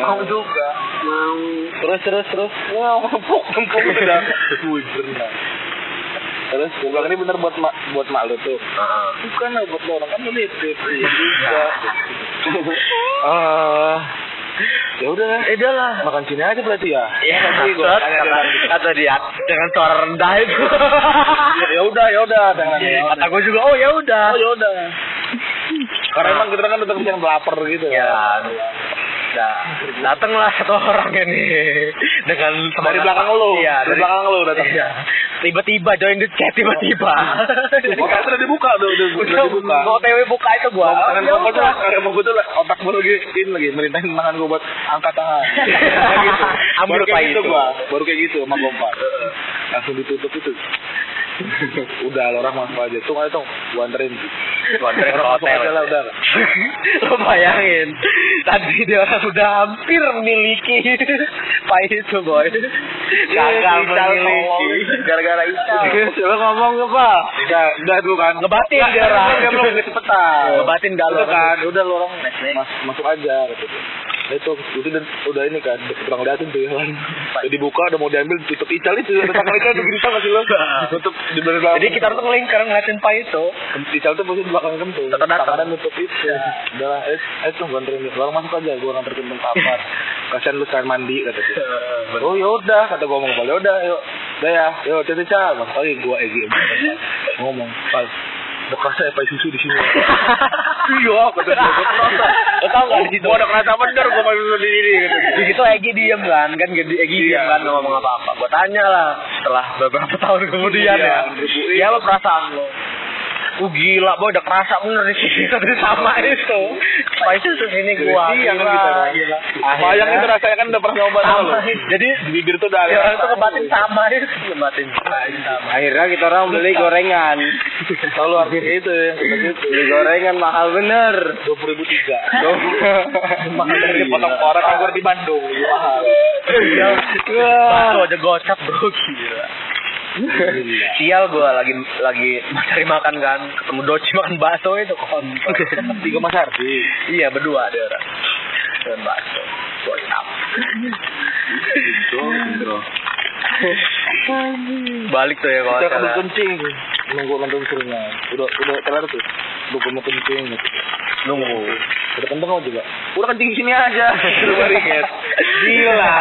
B: mau juga mau
A: Terus terus terus.
B: Wah, empuk, empuk udah. Bujur dah. Terus gue bilang ini bener buat mak buat mak lu tuh. Bukan lah buat lo orang kan lu nitip. Iya juga. Eh, ya udah.
A: Eh dah lah.
B: Makan sini aja berarti ya.
A: Ya,
B: Nanti gua
A: maksud,
B: tanya
A: kata,
B: dengan-
A: kata dia dengan suara rendah itu.
B: Ya udah, ya udah dengan ya udah.
A: kata gue juga, oh ya udah.
B: Oh, ya udah. Karena emang kita kan udah kebiasaan lapar gitu
A: Ya.
B: ya.
A: Nah, datanglah satu orang ini dengan
B: Dari
A: semangat-
B: belakang lo,
A: Iya,
B: dari belakang lo datang. Oh,
A: Iya. Tiba-tiba join the chat tiba-tiba.
B: Otak sudah iya. dibuka, udah udah udah dibuka.
A: Mau TW buka itu gua.
B: Kalau tangan
A: Ya
B: gue tuh,
A: udah.
B: tangan gue tuh otak gue lagi ini lagi merintahin tangan gue buat angkat tangan. Kayak gitu.
A: Ambruk
B: baru kayak
A: lagi
B: gitu
A: itu.
B: gue, baru kayak gitu sama Gopar. Langsung ditutup itu. udah lo orang masuk aja tuh ayo tuh gua anterin
A: Gua anterin ke
B: Orang masuk
A: hotel.
B: aja lah udah
A: lo bayangin tadi dia orang sudah hampir memiliki pak itu boy gagal Iya,
B: Iya, Ical
A: memiliki
B: tolong.
A: gara-gara Ical
B: coba ngomong ke pak udah udah tuh kan
A: Ngebatin dia Iya. orang.
B: dia belum kecepetan
A: Ngebatin dah lo.
B: udah kan udah lo orang
A: Next, next.
B: mas- masuk aja gitu Nah, itu itu udah, udah ini kan kurang liatin tuh ya kan udah dibuka udah mau diambil tutup ical itu ada tangan ical itu gini tau gak sih lo tutup di belakang
A: jadi kita tuh ngelingkar ngeliatin pak itu
B: ical tuh posisi di belakang kentut
A: Tetep datang. Iya.
B: tangan nutup itu udah lah eh eh tuh gue anterin lo orang masuk aja gue nganter kentut kamar kasihan lu sekalian mandi kata dia Oh yaudah kata gua ngomong balik udah yuk udah ya yuk caca caca mas lagi gua egi ngomong pas bekas saya pakai susu di sini iya kata dia gua kerasa
A: Lo tau nggak di situ?
B: gua udah kerasa bener gua pakai susu di sini kata dia.
A: di situ Egi diem kan kan Egi Egi diem
B: Iya.
A: kan nggak ngomong apa-apa gua tanya lah setelah beberapa tahun kemudian
B: Iya,
A: ya
B: ribuin.
A: dia apa perasaan lo Uh gila, boy udah kerasa bener di sini tadi sama itu. Pak itu terus ini gua.
B: Iya, kan
A: gila.
B: kita kan.
A: Gila.
B: bayang itu
A: Akhirnya-
B: rasanya kan udah pernah nyoba tau
A: Sama.
B: lu. jadi Iya, di bibir tuh udah
A: Ya, orang tuh
B: rasa.
A: kebatin sama ya, kebatin sama.
C: Akhirnya kita orang beli gorengan.
B: tau lu artinya itu ya
C: Beli gorengan mahal bener.
B: dua puluh ribu tiga
A: Mahal dari
B: potong orang kan gua di Bandung mahal
A: Iya. Batu aja gocap bro gila.
B: Gila.
A: Sial gua lagi lagi cari makan kan, ketemu Doci makan bakso itu kontol.
B: tiga mas Ardi
A: iya berdua ada orang. Makan bakso. Gocap. Balik tuh ya kalau
B: Kita kan
A: salah.
B: kencing nunggu kandung serunya. Udah udah kelar tuh. Udah gua mau kencing gitu.
A: Nunggu.
B: Udah kenceng aja juga. Udah kencing sini aja. Suruh bariket.
A: Gila.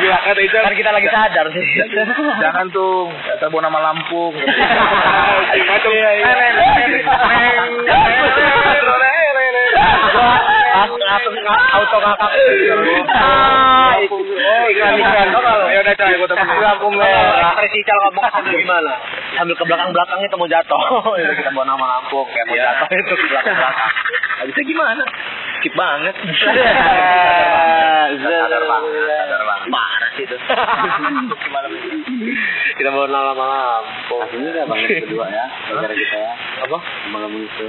B: Gila kata itu.
A: Kan kita lagi sadar sih.
B: Jangan tuh, kita bawa nama Lampung. Macam
A: Iya, iya. Gua langsung- langsung ngak- auto ngakak.
B: Ah, Lampung. Oh, ikan ikan.
A: Tau nggak lo?
B: Ya udah coy, gua temenin.
A: Lampung lah. Terus Ical ngomong sambil gimana? Sambil ke belakang belakang itu mau jatuh. Itu kita bawa nama Lampung kayak mau
B: Iya.
A: jatuh itu ke belakang belakang. Habisnya gimana? Skip banget. Sadar banget. Sadar banget.
C: Iya.
A: Parah sih itu. Gimana sih? Kita bawa nama Lampung.
C: Ini udah banget berdua ya, gara kita ya.
B: Apa?
C: Malam itu.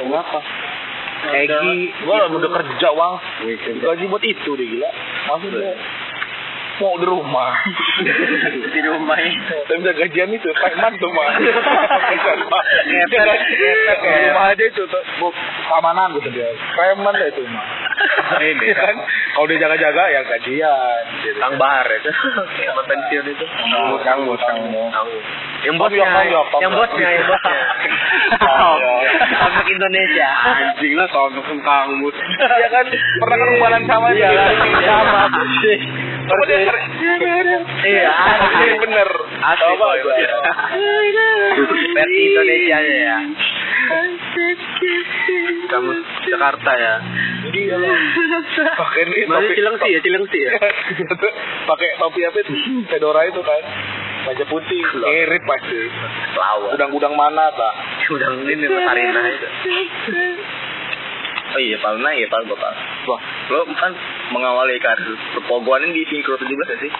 C: Kenapa?
B: Egi, gua
C: gitu.
B: udah kerja, Bang.
C: Wih,
B: Gaji buat itu deh gila. Maksudnya mau di rumah.
C: di rumah itu.
B: Tapi udah gajian itu, preman tuh mah.
A: Ngepet,
B: Ngepet,
A: ngepet,
C: ya.
B: rumah aja itu tuh, bu- keamanan gitu dia. Preman lah itu mah. ini kan kalau dia jaga-jaga ya gajian gitu.
A: Kang Bahar itu sama pensiun itu
B: Tangguh, tangguh, tangguh.
A: tahu yang
B: Tom
A: bosnya
B: York, Tom York, Tom
A: yang
B: York.
A: bosnya yang bosnya
B: Tom York.
A: Komik Indonesia
C: Anjing lah soal nukung kamus.
B: Iya kan, pernah kan kumpulan sama
A: Iya,
B: dia kan?
A: sama.
B: Cuma dia keren.
A: iya
B: Asli bener.
A: asli
B: Sama
A: boy,
B: gua.
A: boy. versi Indonesia ya kamu Jakarta ya
B: Iya. Pakai ini
A: masih
B: topi-
A: Cilengsi ya Cilengsi ya
B: Iya. Pakai topi apa itu? Fedora itu kan. Baja putih, ngirit pasti.
A: lawan
B: Udang-udang mana tak?
A: udah ini Sarina itu oh iya Palna iya Pal Bapak
B: Wah,
A: lo kan mengawali karir perpogoan ini kan. di Sinkro 17 ya sih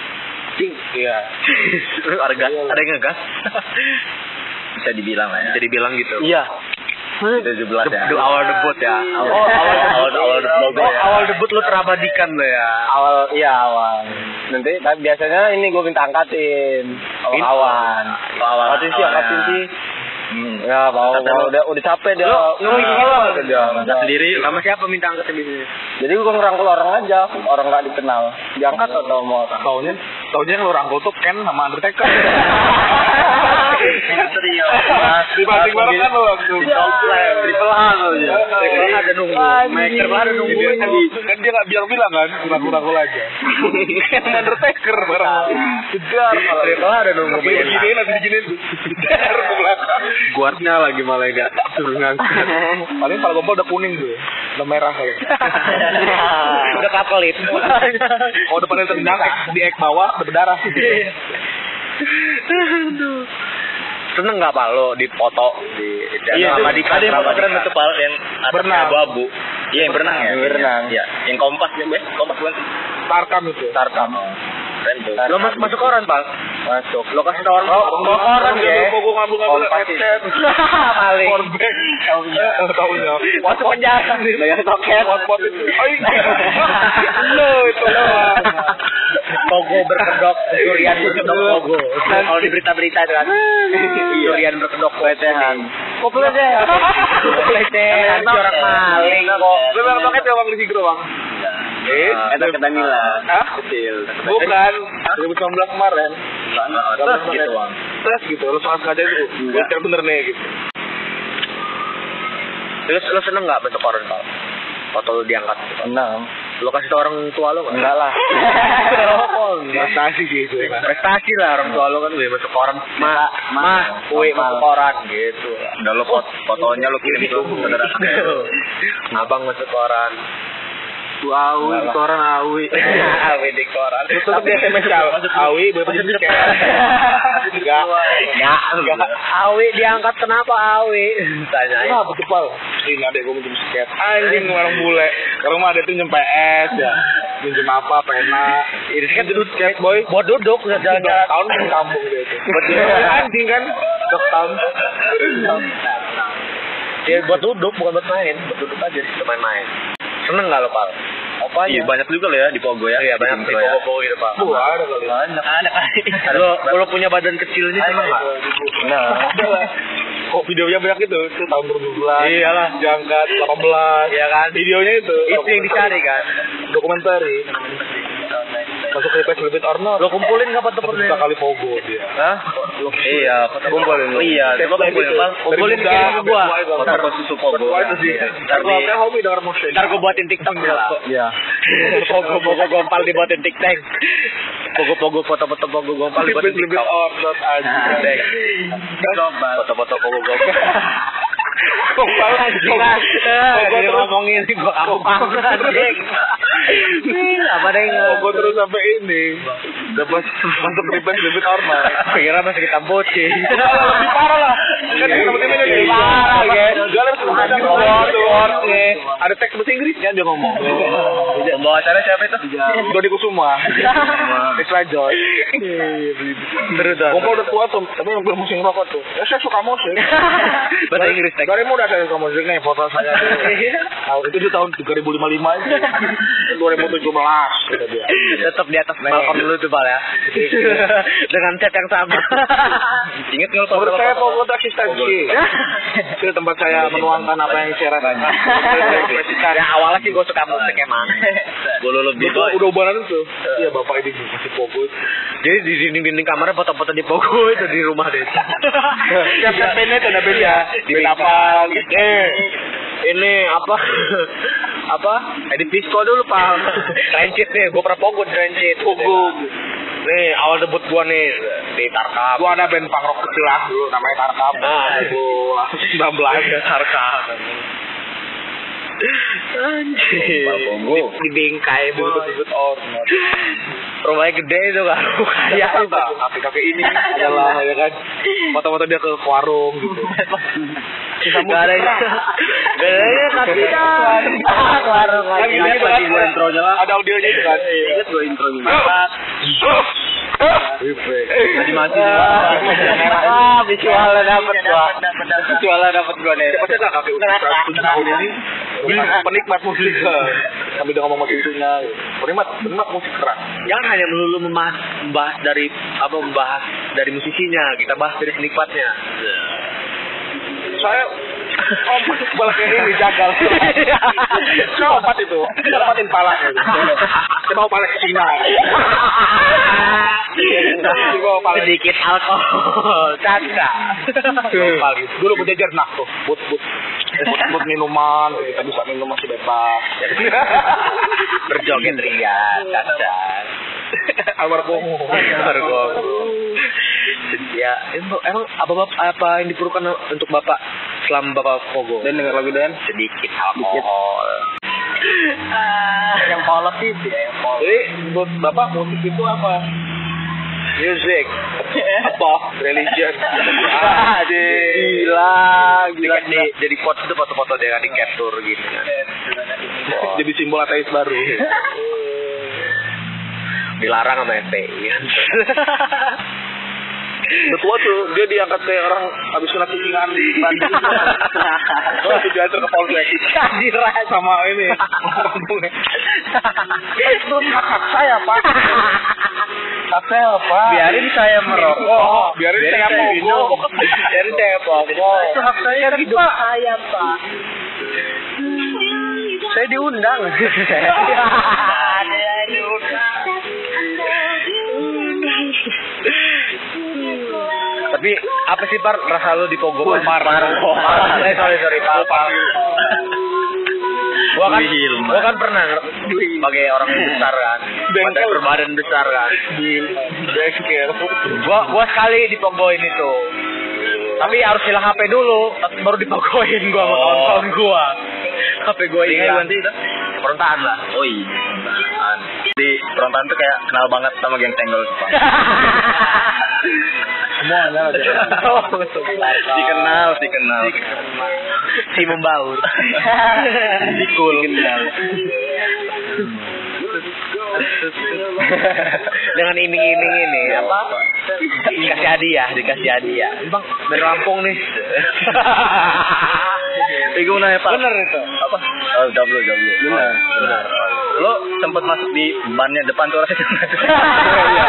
B: jing. Iya.
A: Terus ada gas, ada yang ngegas bisa dibilang lah ya Iya. bisa dibilang gitu
B: Iya.
A: 17 ya
C: The- the awal debut ya.
A: awal,
B: Oh, awal
A: awal
B: debut.
A: awal debut
C: Oh,
A: ya.
C: awal debut lo terabadikan lo ya.
B: Awal, iya awal. Nanti tapi biasanya ini gue minta angkatin.
A: Ini-
B: Awan.
A: Oh, awal
B: Angkatin sih,
A: awalnya.
B: angkatin sih.
A: Hmm.
B: Ya, mau,
A: Angkatan
B: mau
A: lu.
B: udah udah capek dia.
A: Lu- lu
B: Nah,
A: gimana?
B: udah dia.
A: Angkat sendiri sama siapa minta angkat sendiri
B: Jadi gue ngerangkul orang aja, orang nggak dikenal. Diangkat atau mau orang? Taunya, taunya yang lu rangkul tuh Ken sama Undertaker.
A: Trio.
B: Dibanding bareng kan lu langsung.
A: Triple A lo ya. Triple A ada nunggu.
B: Anjing.
A: Mike Triple A ada nunggu.
B: Dia kan,
A: Iya.
B: kan dia nggak bilang-bilang kan, rangkul-rangkul aja. Ken sama Undertaker bareng. Segar malah.
A: Triple A ada nunggu.
B: Tapi beginiin langsung diginiin. Segar ke belakang.
C: Guardnya lagi malah enggak suruh ngangkat.
B: Paling kalau gombal udah kuning tuh, udah merah ya. kali.
A: Udah kapelit.
B: Oh depannya tendang, ek- di ek bawah udah berdarah.
A: Seneng gak Pak lo dipoto di dan
B: Iya,
A: sama di
B: itu- ada yang
A: sama
B: foto
A: di-
B: keren itu,
A: Pak, yang atasnya
B: Berenang.
A: abu-abu. Iya, yang berenang ya.
B: Yang
A: kayaknya.
B: berenang.
A: Iya, yang kompas yang best, kompas bukan sih?
B: Tarkam itu. Tarkam.
A: Keren tuh.
B: Lo mas- masuk
A: koran, Pak.
B: Masuk.
A: Lo kasih tau orang
B: Oh, orang ya. Kok gue ngambil-ngambil
A: Orang pasti.
B: headset.
A: Maling.
B: Korban.
A: Taunya.
B: Eh, Taunya.
A: Masuk penjara nih.
B: Bayar toket. Hotpot itu. Ay. Lo itu. lo.
A: Pogo berkedok, durian berkedok Pogo. Kalau di berita-berita itu kan. Durian berkedok pelecehan. Kok pelecehan? Pelecehan si orang maling kok.
B: Lo bilang banget ya bang di Sigro bang.
A: Eh, Eta ke Danila.
B: Hah?
A: Kecil.
B: Bukan. 2019 kemarin.
A: Terus gitu, Bang.
B: Terus gitu. Lo soal sengaja itu. Gue
A: Enggak.
B: cari bener nih gitu.
A: Terus lo seneng nggak bentuk orang kalau foto lo diangkat?
B: Enam.
A: Lo kasih tau orang tua lo nggak?
B: Enggak lah.
A: Oh, enggak.
B: Prestasi sih itu.
A: Prestasi lah orang tua lo kan gue masuk koran. Mah,
B: Ma,
A: mah, gue
B: ma.
A: masuk koran gitu. Udah lo foto fotonya lo kirim tuh saudara. Abang masuk koran.
C: Awi,
B: Enggak lah.
C: koran awi.
A: Awi di koran.
B: Itu tuh dia SMS Cal. Awi boleh pakai tiket. Enggak.
A: Enggak, enggak. Awi diangkat kenapa Awi? Tanyain.
B: Kenapa tuh Pal? Nah, Ini adek gue minjem tiket.
A: Eh.
B: Anjing orang bule. Ke rumah adek tuh minjem PS ya. Minjem apa, pena. Ini kan duduk tiket boy.
A: Buat duduk nggak jalan-jalan.
B: tahun di kampung dia itu.
A: Buat dia.
B: Anjing kan. Dok tahun.
A: Ya buat duduk bukan buat main, buat duduk aja sih main-main. Seneng nggak lo Pak? Apa Iya banyak juga lo ya di Pogo ya. Iya banyak di Pogo gitu Pak.
B: Wah ada kali.
A: Ada kan? Lo lo punya badan kecil ini seneng nggak?
B: Nah. Kok videonya banyak itu? Itu tahun 2012.
A: Iyalah.
B: Jangkat 18.
A: Iya kan?
B: Videonya itu.
A: Itu yang dicari kan.
B: Dokumenter. iya. Masuk ke Pes Lebit or Not.
A: Lo kumpulin nggak foto-fotonya?
B: Satu kali pogo dia.
A: Hah? Iya, kumpulin.
B: lu.
A: Iya, coba kumpulin Pak. Kumpulin
B: Dari
A: kirim ke
B: muda,
A: gua.
B: dari muda,
A: Foto susu Pogo.
B: Wah, itu sih.
A: Iya.
B: Ntar
A: Ntar
B: gua
A: di-
B: saya hobi denger musik.
A: Ntar gue buatin TikTok ya lah.
B: Iya.
A: Pogo pogo gompal dibuatin TikTok. Pogo pogo foto-foto pogo gompal dibuatin
B: Lebit Lebit
A: TikTok.
B: or Not
A: Nah,
B: aja.
A: Tek. Foto-foto pogo gompal.
B: Gompal.
A: Jelas.
B: Pogo
A: Pogo
B: terus.
A: ngomongin gua apa
B: Pogo
A: anjing. Ih, Apa deh?
B: Pogo terus sampai ini. Dapat masuk ke Pes Lebit or Not.
A: Kira masih kita bocil.
B: Lebih parah lah.
A: Iya.
B: Kan temen-temen udah jadi parah, guys. Gua harus ada word-wordnya. Ada teks bahasa Iya. Inggrisnya
A: Iya,
B: dia ngomong.
A: Pembawa acara siapa itu?
B: Dodi Kusuma.
A: Iya.
B: Isla Joy.
A: Terus terus.
B: Kumpul iya. udah tua tuh, tapi yang belum musim rokok tuh. Ya saya suka musik.
A: Bahasa Inggris teks.
B: Dari muda saya suka musik nih, foto saya. tuh. Nah, itu di tahun 3055 itu. 2017 kata dia.
A: Tetap di atas balkon lu tuh Bal ya. Dengan cat yang sama. Ingat kalau
B: Menurut saya fokus eksistensi. Itu tempat saya menuangkan apa yang saya rasakan. Saya ekspresikan.
A: Ya awalnya sih gue suka musik emang. Gue lebih Eh.
B: Itu udah ubanan itu. Iya bapak ini masih fokus.
A: Jadi di dinding-dinding kamarnya foto-foto di Pogo itu di rumah desa.
B: Tiap campaign-nya itu ada ya? beda.
A: Di Bika.
B: Beda apa? gitu.
A: Eh, ini apa? apa? Edit disco dulu, Pak. Rencit nih, gue pernah pogo di Rencit.
B: Pogok.
A: Nih, awal debut gue nih di Tarkam.
B: Gua ada band punk rock kecil lah dulu namanya Tarkam.
A: Nah.
B: Gua 19.
A: Iya, Tarkam. Anjir.
C: Pak Pogo.
A: Di bingkai, Bu.
B: Disebut ormas.
A: Rumahnya gede itu kan.
B: Ya,
A: Kayak itu.
B: kakek-kakek ini
A: Iya,
B: adalah ya kan foto-foto dia ke warung gitu.
A: Gak ada yang Gak ada yang kasih kan Warung
B: Kan
A: lagi
B: gitu gitu kan.
A: Lagi gua intronya lah
B: Ada audionya itu kan.
A: Iya. Ingat gue intronya
B: Tadi mati.
A: Ah,
B: Iya.
A: visualnya dapet gua Visualnya dapet gua nih
B: Siapa sih nggak kakek usia 107 tahun ini? Penikmat musik eh. sambil dia ngomong sama cucunya. gitu. Penikmat, penikmat musik keras.
A: Jangan hanya melulu membahas, membahas dari apa membahas dari musisinya, kita bahas dari penikmatnya.
B: Saya kompas kepala kayak ini jagal.
A: Iya.
B: Kompas itu, kompasin pala. gitu. Dia mau pala ke Cina. Gua mau pala.
A: Sedikit alkohol, canda.
B: Nopal gitu. Gue udah berjajar nah tuh, buat buat buat, buat minuman, kita bisa minum masih bebas.
A: Berjoget ria, canda.
B: Almarhum.
A: Bergong. Ya, emang, emang apa, apa, apa yang diperlukan untuk bapak selama bapak kogo?
B: Dan dengar lagu Dan.
A: sedikit alkohol.
B: Yang polos sih, yang polos. Jadi buat Eh, bapak musik itu apa? Music, apa? Religion.
A: Ah,
B: Gila, gila.
A: Jadi, kan jadi foto itu foto-foto dia kan di capture gitu kan.
B: Jadi simbol ateis baru.
A: Dilarang sama FPI. kan.
B: Betul tuh, dia diangkat kayak orang habis kena kucingan di Bandung. Terus tujuan ke Polsek.
A: Kehadiran.
B: sama ini itu hak saya pak hak saya pak
A: Biarin saya merokok.
B: Oh, biarin saya
A: minum.
B: mogok
A: Biarin saya mogok.
B: itu hak saya kan pak
A: Saya diundang. Tapi apa sih par rasa lu di Pogo? Par, par, Eh, sorry sorry par, par. Gua kan,
C: Wilma.
A: gua kan pernah sebagai orang besar kan,
B: Bengkel.
A: badan berbadan besar kan.
B: bengkel
A: Gua, gua sekali di Pogoin itu. Tapi harus hilang HP dulu, baru dipogoin gua sama kawan-kawan gua. HP gua kan.
C: Ini
A: hilang.
C: ganti itu.
A: Perontaan lah.
C: Oh iya. Perontaan. Di perontaan tuh kayak kenal banget sama geng tenggel tuh, Pak.
B: semuanya ada
A: Oh, betul.
C: Dikenal, dikenal.
A: si membaur
C: Dikul. Dikenal. Iya,
A: dengan iming-iming ini apa dikasih hadiah dikasih hadiah bang dari Lampung nih
C: Tapi gue mau nanya, Pak.
A: itu
C: Apa? Oh, W, W.
A: Bener.
C: Oh, bener. Lo sempet masuk di bannya depan tuh rasanya.
A: Iya.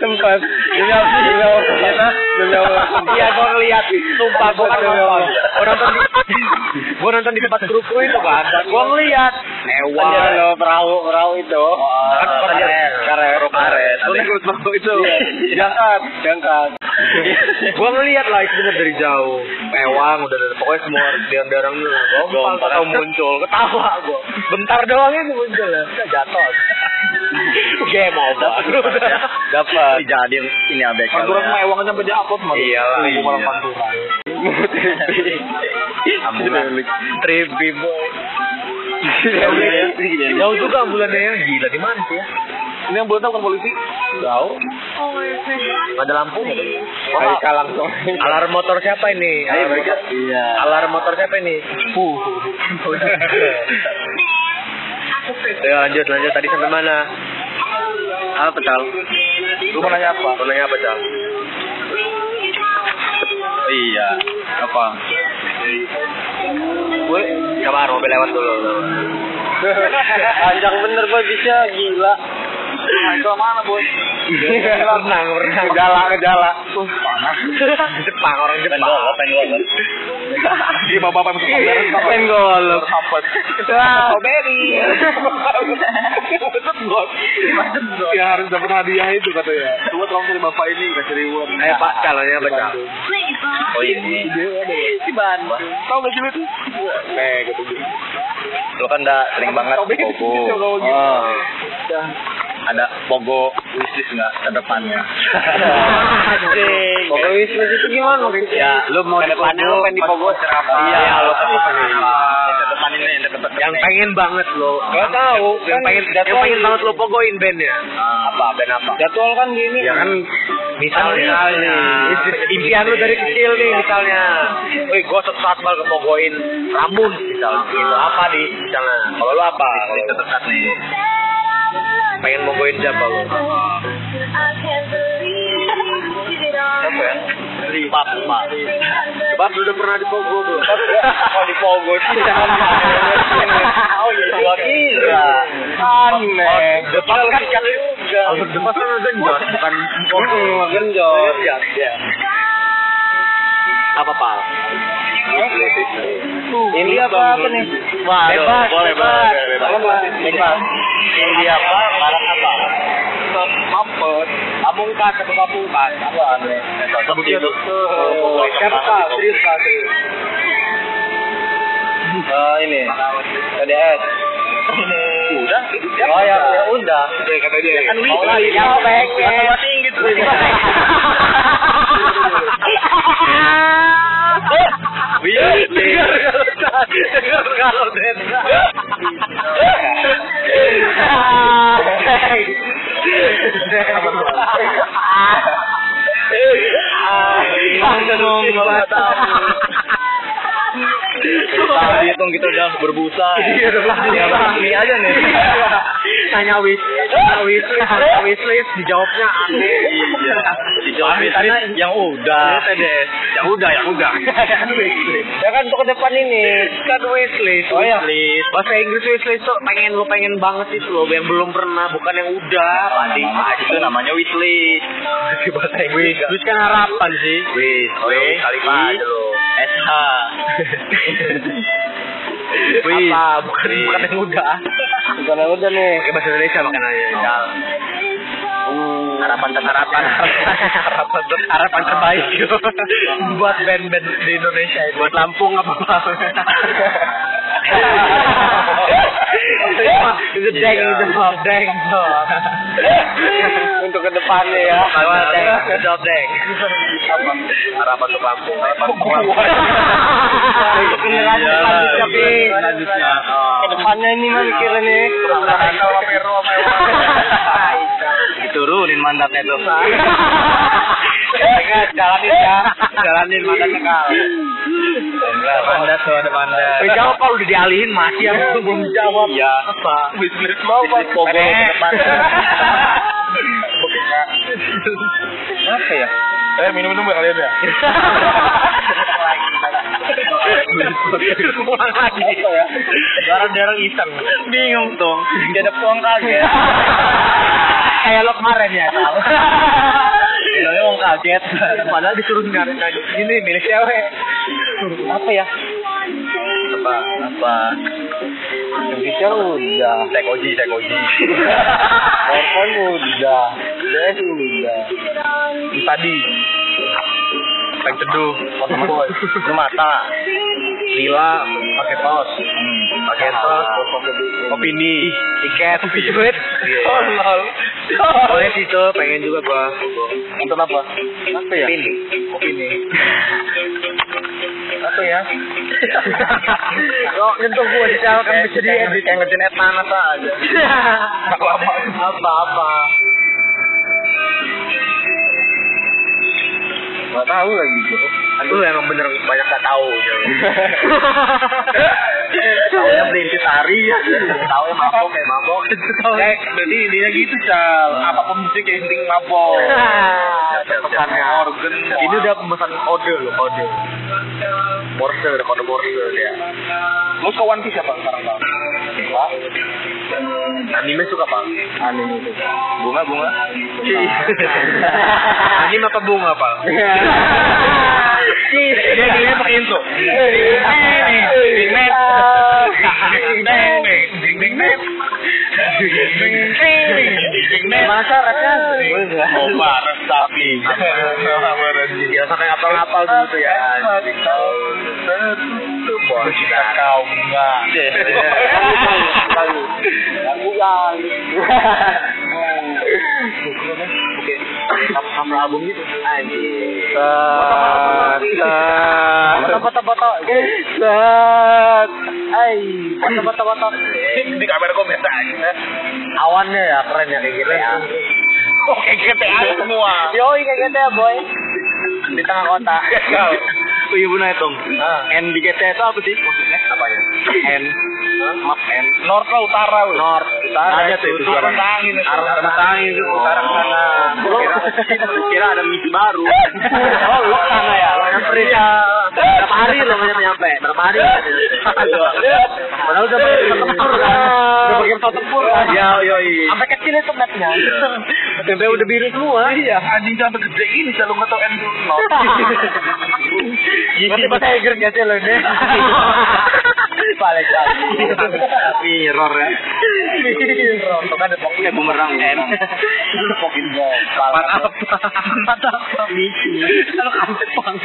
B: tempat demi apa demi apa kita demi apa
A: Iya, gue ngeliat, sumpah gue kan nonton, gue nonton di, gue nonton di tempat kru kru itu kan, dan gue ngeliat,
B: hewan
C: Iya,
B: perahu perahu itu
A: kan
C: Ah,
A: pernah
C: karet.
A: karet,
C: Karet.
B: Lu
C: Ada- Iya.
B: ikut perahu itu jangkat jangkat
A: gue Iya. ngeliat lah itu bener dari jauh, ewang udah ada, pokoknya semua dia orang lu, gompal
C: Gompal.
A: atau muncul, ketawa gue, bentar doang itu muncul lah, Udah jatuh, game over,
C: Dapat. ya. Jadi ini ya. abk.
B: Panturan mah ewang sampai dia upload mah.
A: Iyalah,
B: Seribu orang
C: iya.
B: panturan.
C: Ambulan.
A: trippy boy, jauh juga ambulannya ya, gila di mana sih ya?
B: Ini yang belum tahu kan polisi?
A: Jauh, nggak ada lampu nggak ada?
B: Hai langsung.
A: Alarm motor siapa ini?
C: Ayo
A: Alarm,
C: mereka. Iya.
A: alarm motor siapa ini?
B: Puh.
A: Ya lanjut lanjut tadi sampai mana? Apa cal?
B: Lu mau nanya apa?
A: Mau nanya apa cal?
C: Iya. Apa?
A: Gue kabar mobil lewat dulu.
B: Panjang bener boy bisa gila.
C: Ke mana bos?
A: renang, renang. Gejala, gejala. Jepang, orang Jepang.
B: Penggol, penggol.
C: Iya bapak-bapak masuk komplek.
A: Penggolok.
C: Sampet.
A: Wah.
C: Maksud bos. Ya harus dapat hadiah itu katanya. Coba tolong cari bapak ini kasih reward.
A: Eh, Pak, kalau ya, Pak. Cal.
B: Oh iya.
C: Si Bandung. Tahu gak sih lu itu? Eh, gitu gitu.
B: Lo kan udah sering banget
C: Sobek.
B: pogo.
C: Sobek.
B: Oh.
A: Ah.
B: Ada pogo wishlist nggak ke depannya?
A: Anjing.
B: Pogo wishlist itu gimana? Ya, lo Iya. mau ke depannya lo pengen di pogo apa? Iya, lo pengen di pogo. Yang ke depan ini yang deket
A: Yang pengen banget lo.
B: Gak tahu. Kan
A: Yang pengen, yang pengen banget lo pogoin bandnya.
B: Ah, apa band apa?
A: Jadwal kan gini. Ya kan misalnya,
B: Kan Misalnya.
A: Impi- impian lu dari kecil nih misalnya. Wih, gue suatu saat bakal kepogoin Ramun misalnya. Gitu. Apa di misalnya? Kalau lu apa?
B: Wishlist terdekat nih.
A: Pengen pogoin siapa lu?
B: Siapa ya? Pap, pap.
C: Sebab lu udah pernah di Pogo belum?
B: Kalau Oh, di pogo sih jangan.
C: Oh iya,
B: Gua kira.
C: Aneh.
B: Depan kan kan juga. iya,
C: Depan kan udah genjot, bukan
B: Oh, genjot. Ya.
A: Apa pak?
C: Iya,
B: Ini apa apa nih? Wah,
A: Bebas,
B: boleh,
A: bebas.
B: boleh, boleh, boleh. Bebas. Ini apa? Barang apa?
C: mampet.
B: Amungkas atau kapungkas? Apa aneh? Sebutin dulu.
C: Oh, siapa tahu? Serius Kak, serius.
B: Eh, ini. PDS. Udah, oh ya, ya udah.
C: Udah kata dia.
B: Kan
C: ya.
B: wishlist. Yang pengen. tinggi
A: Iya, dengar kalau Dan. dengar kalau Den.
B: Langsung batal. Kalau dihitung kita udah berbusa.
A: Iya, udah berbusa.
B: Ya, makan mie aja nih.
A: Tanya wis, tanya wis, tanya wis, dijawabnya aneh.
B: Iya. Dijawabin tadi yang udah.
A: Ya udah, ya udah.
B: Ya kan untuk ke depan ini.
A: Kan wishlist,
B: Oh, iya.
A: wishlist. Bahasa Inggris wishlist tuh pengen lu pengen banget itu loh, yang belum pernah, bukan yang udah. Padi,
B: Nah, itu namanya wishlist. Bahasa Inggris.
A: Terus kan harapan sih.
B: Wis,
A: Oh,
B: wis,
A: kali
B: I,
A: aja lo.
B: SH.
A: Wis. Apa? Bukan, bukan yang udah.
B: Bukan yang udah nih.
A: Pakai bahasa Indonesia makanannya.
B: Harapan harapan.
A: harapan ter- harapan terbaik buat band-band di Indonesia itu. buat Lampung apa apa Iya. itu deng itu dong deng
B: Untuk ke depannya ya.
A: Buat deng itu dong, deng
B: Harapan untuk Lampung. Harapan untuk Lampung.
A: Itu beneran
B: Iya,
A: selanjutnya,
B: iya,
A: Pi.
B: selanjutnya.
A: Ke depannya ini mah mikirnya nih.
B: Kebelakangan sama Vero, sama Ewan. Diturunin mandatnya tuh. Jangan, jalanin ya. Jalanin mandatnya kau. Mandat tuh ada mandat.
A: Eh, jawab kalau udah dialihin masih yang belum jawab.
B: Iya.
A: Apa?
C: Wishlist mau apa?
B: Bisnis pogol ke depan. Apa ya?
C: Eh, minum-minum ya kalian ya?
A: Ulang lagi.
B: Apa ya?
A: Darah-darah iseng.
B: Bingung dong. Dia ada puang kaget.
A: Kayak lo kemarin ya.
B: Bilangnya mau kaget.
A: Padahal disuruh nyari tadi. Ini milik cewek.
B: Apa ya? Apa? Apa? Indonesia udah. Tekoji, tekoji. Telepon udah. Dan udah. Tadi.
A: Pengen teduh.
B: Boy. Lu mata. Lila pakai paus. Hmm. Pakai paus.
A: Opini. Tiket. Duit.
B: Tolol.
A: Boleh sih tuh, pengen juga gua.
B: Untuk apa? Apa ya?
A: Opini.
B: Opini. Apa ya?
A: Kok nyentuh gua secara kan bisa
B: Kayak-
A: diedit.
B: Kayak ngerjain etan apa aja. Apa-apa. Gak tahu lagi bro.
A: Lu emang bener banyak gak tahu.
B: Taunya berintis hari ya. Taunya mabok kayak mabok.
C: Eh, berarti intinya gitu, Cal. Apapun musik yang penting mabok. Pesannya organ.
B: Ini udah pemesan kode loh, kode. Border, kode border ya.
C: Lu ke One Piece apa sekarang, Bang?
B: suka
C: Anime suka pak?
B: anime itu bunga bunga
C: Anime apa bunga pak? Dia giliran pakai intro.
A: Masyarakatnya.
B: Obar sapi.
C: Ya sampai ngapal-ngapal gitu ya.
B: Bos kita kau bunga. Bukan. Oke. Sama album gitu. Anjir.
A: Foto-foto-foto. Ay, foto-foto-foto.
B: Di kamera komentar.
A: Awannya ya keren ya kayak gitu ya.
B: Oke, GTA semua.
A: Yoi kayak gitu ya boy. Di tengah kota.
C: Iya benar itu. N di GTA itu apa sih? Maksudnya apanya? N. Map N.
B: North ke utara. weh.
C: North. Utara. Ada tuh itu.
B: Itu tentangin. itu.
C: Arah tentangin itu utara ke sana. Kira, kira ada misi baru.
A: Oh, lu sana ya.
C: Nyamperin.
A: Iya. Berapa hari lo nggak nyampe? Berapa hari?
C: Iya.
A: Padahal udah pakai pesawat tempur kan. Udah pakai pesawat tempur kan.
C: Ya, yo, yo.
A: Sampai kecil itu mapnya. Sampai udah biru semua. Iya.
B: Anjing sampai gede ini selalu nggak tahu N itu North.
A: Berarti bahasa Inggris nggak sih lo ini? Paling
C: Mirror ya.
A: Tuh kan ada
C: Kayak bumerang N.
B: Pokin ball.
C: Empat apa?
A: Kalau kampret banget.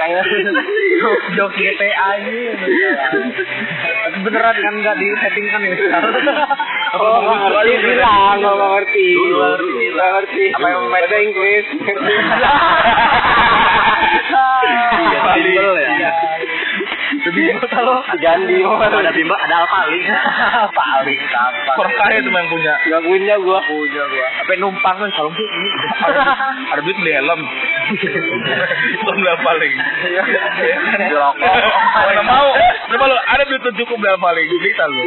A: Kayak jok GTA ini. Beneran kan nggak di setting kan ini.
C: Oh, nggak
A: lu bilang nggak ngerti.
C: Dulu, dulu.
A: Nggak ngerti.
C: Apa yang
A: bahasa Inggris?
C: Iya, bimbel ya.
A: Gandhi.
C: Ada bimbel, ada alpaling.
A: Paling gampang.
B: Perkaya itu yang punya.
A: Gak punya gua. Punya gua. Sampai numpang kan kalau sih.
B: Ada duit beli helm. Itu beli paling.
A: Iya. Dirokok.
B: Mana mau? Coba lu ada duit tujuh ku beli paling. Bisa lu.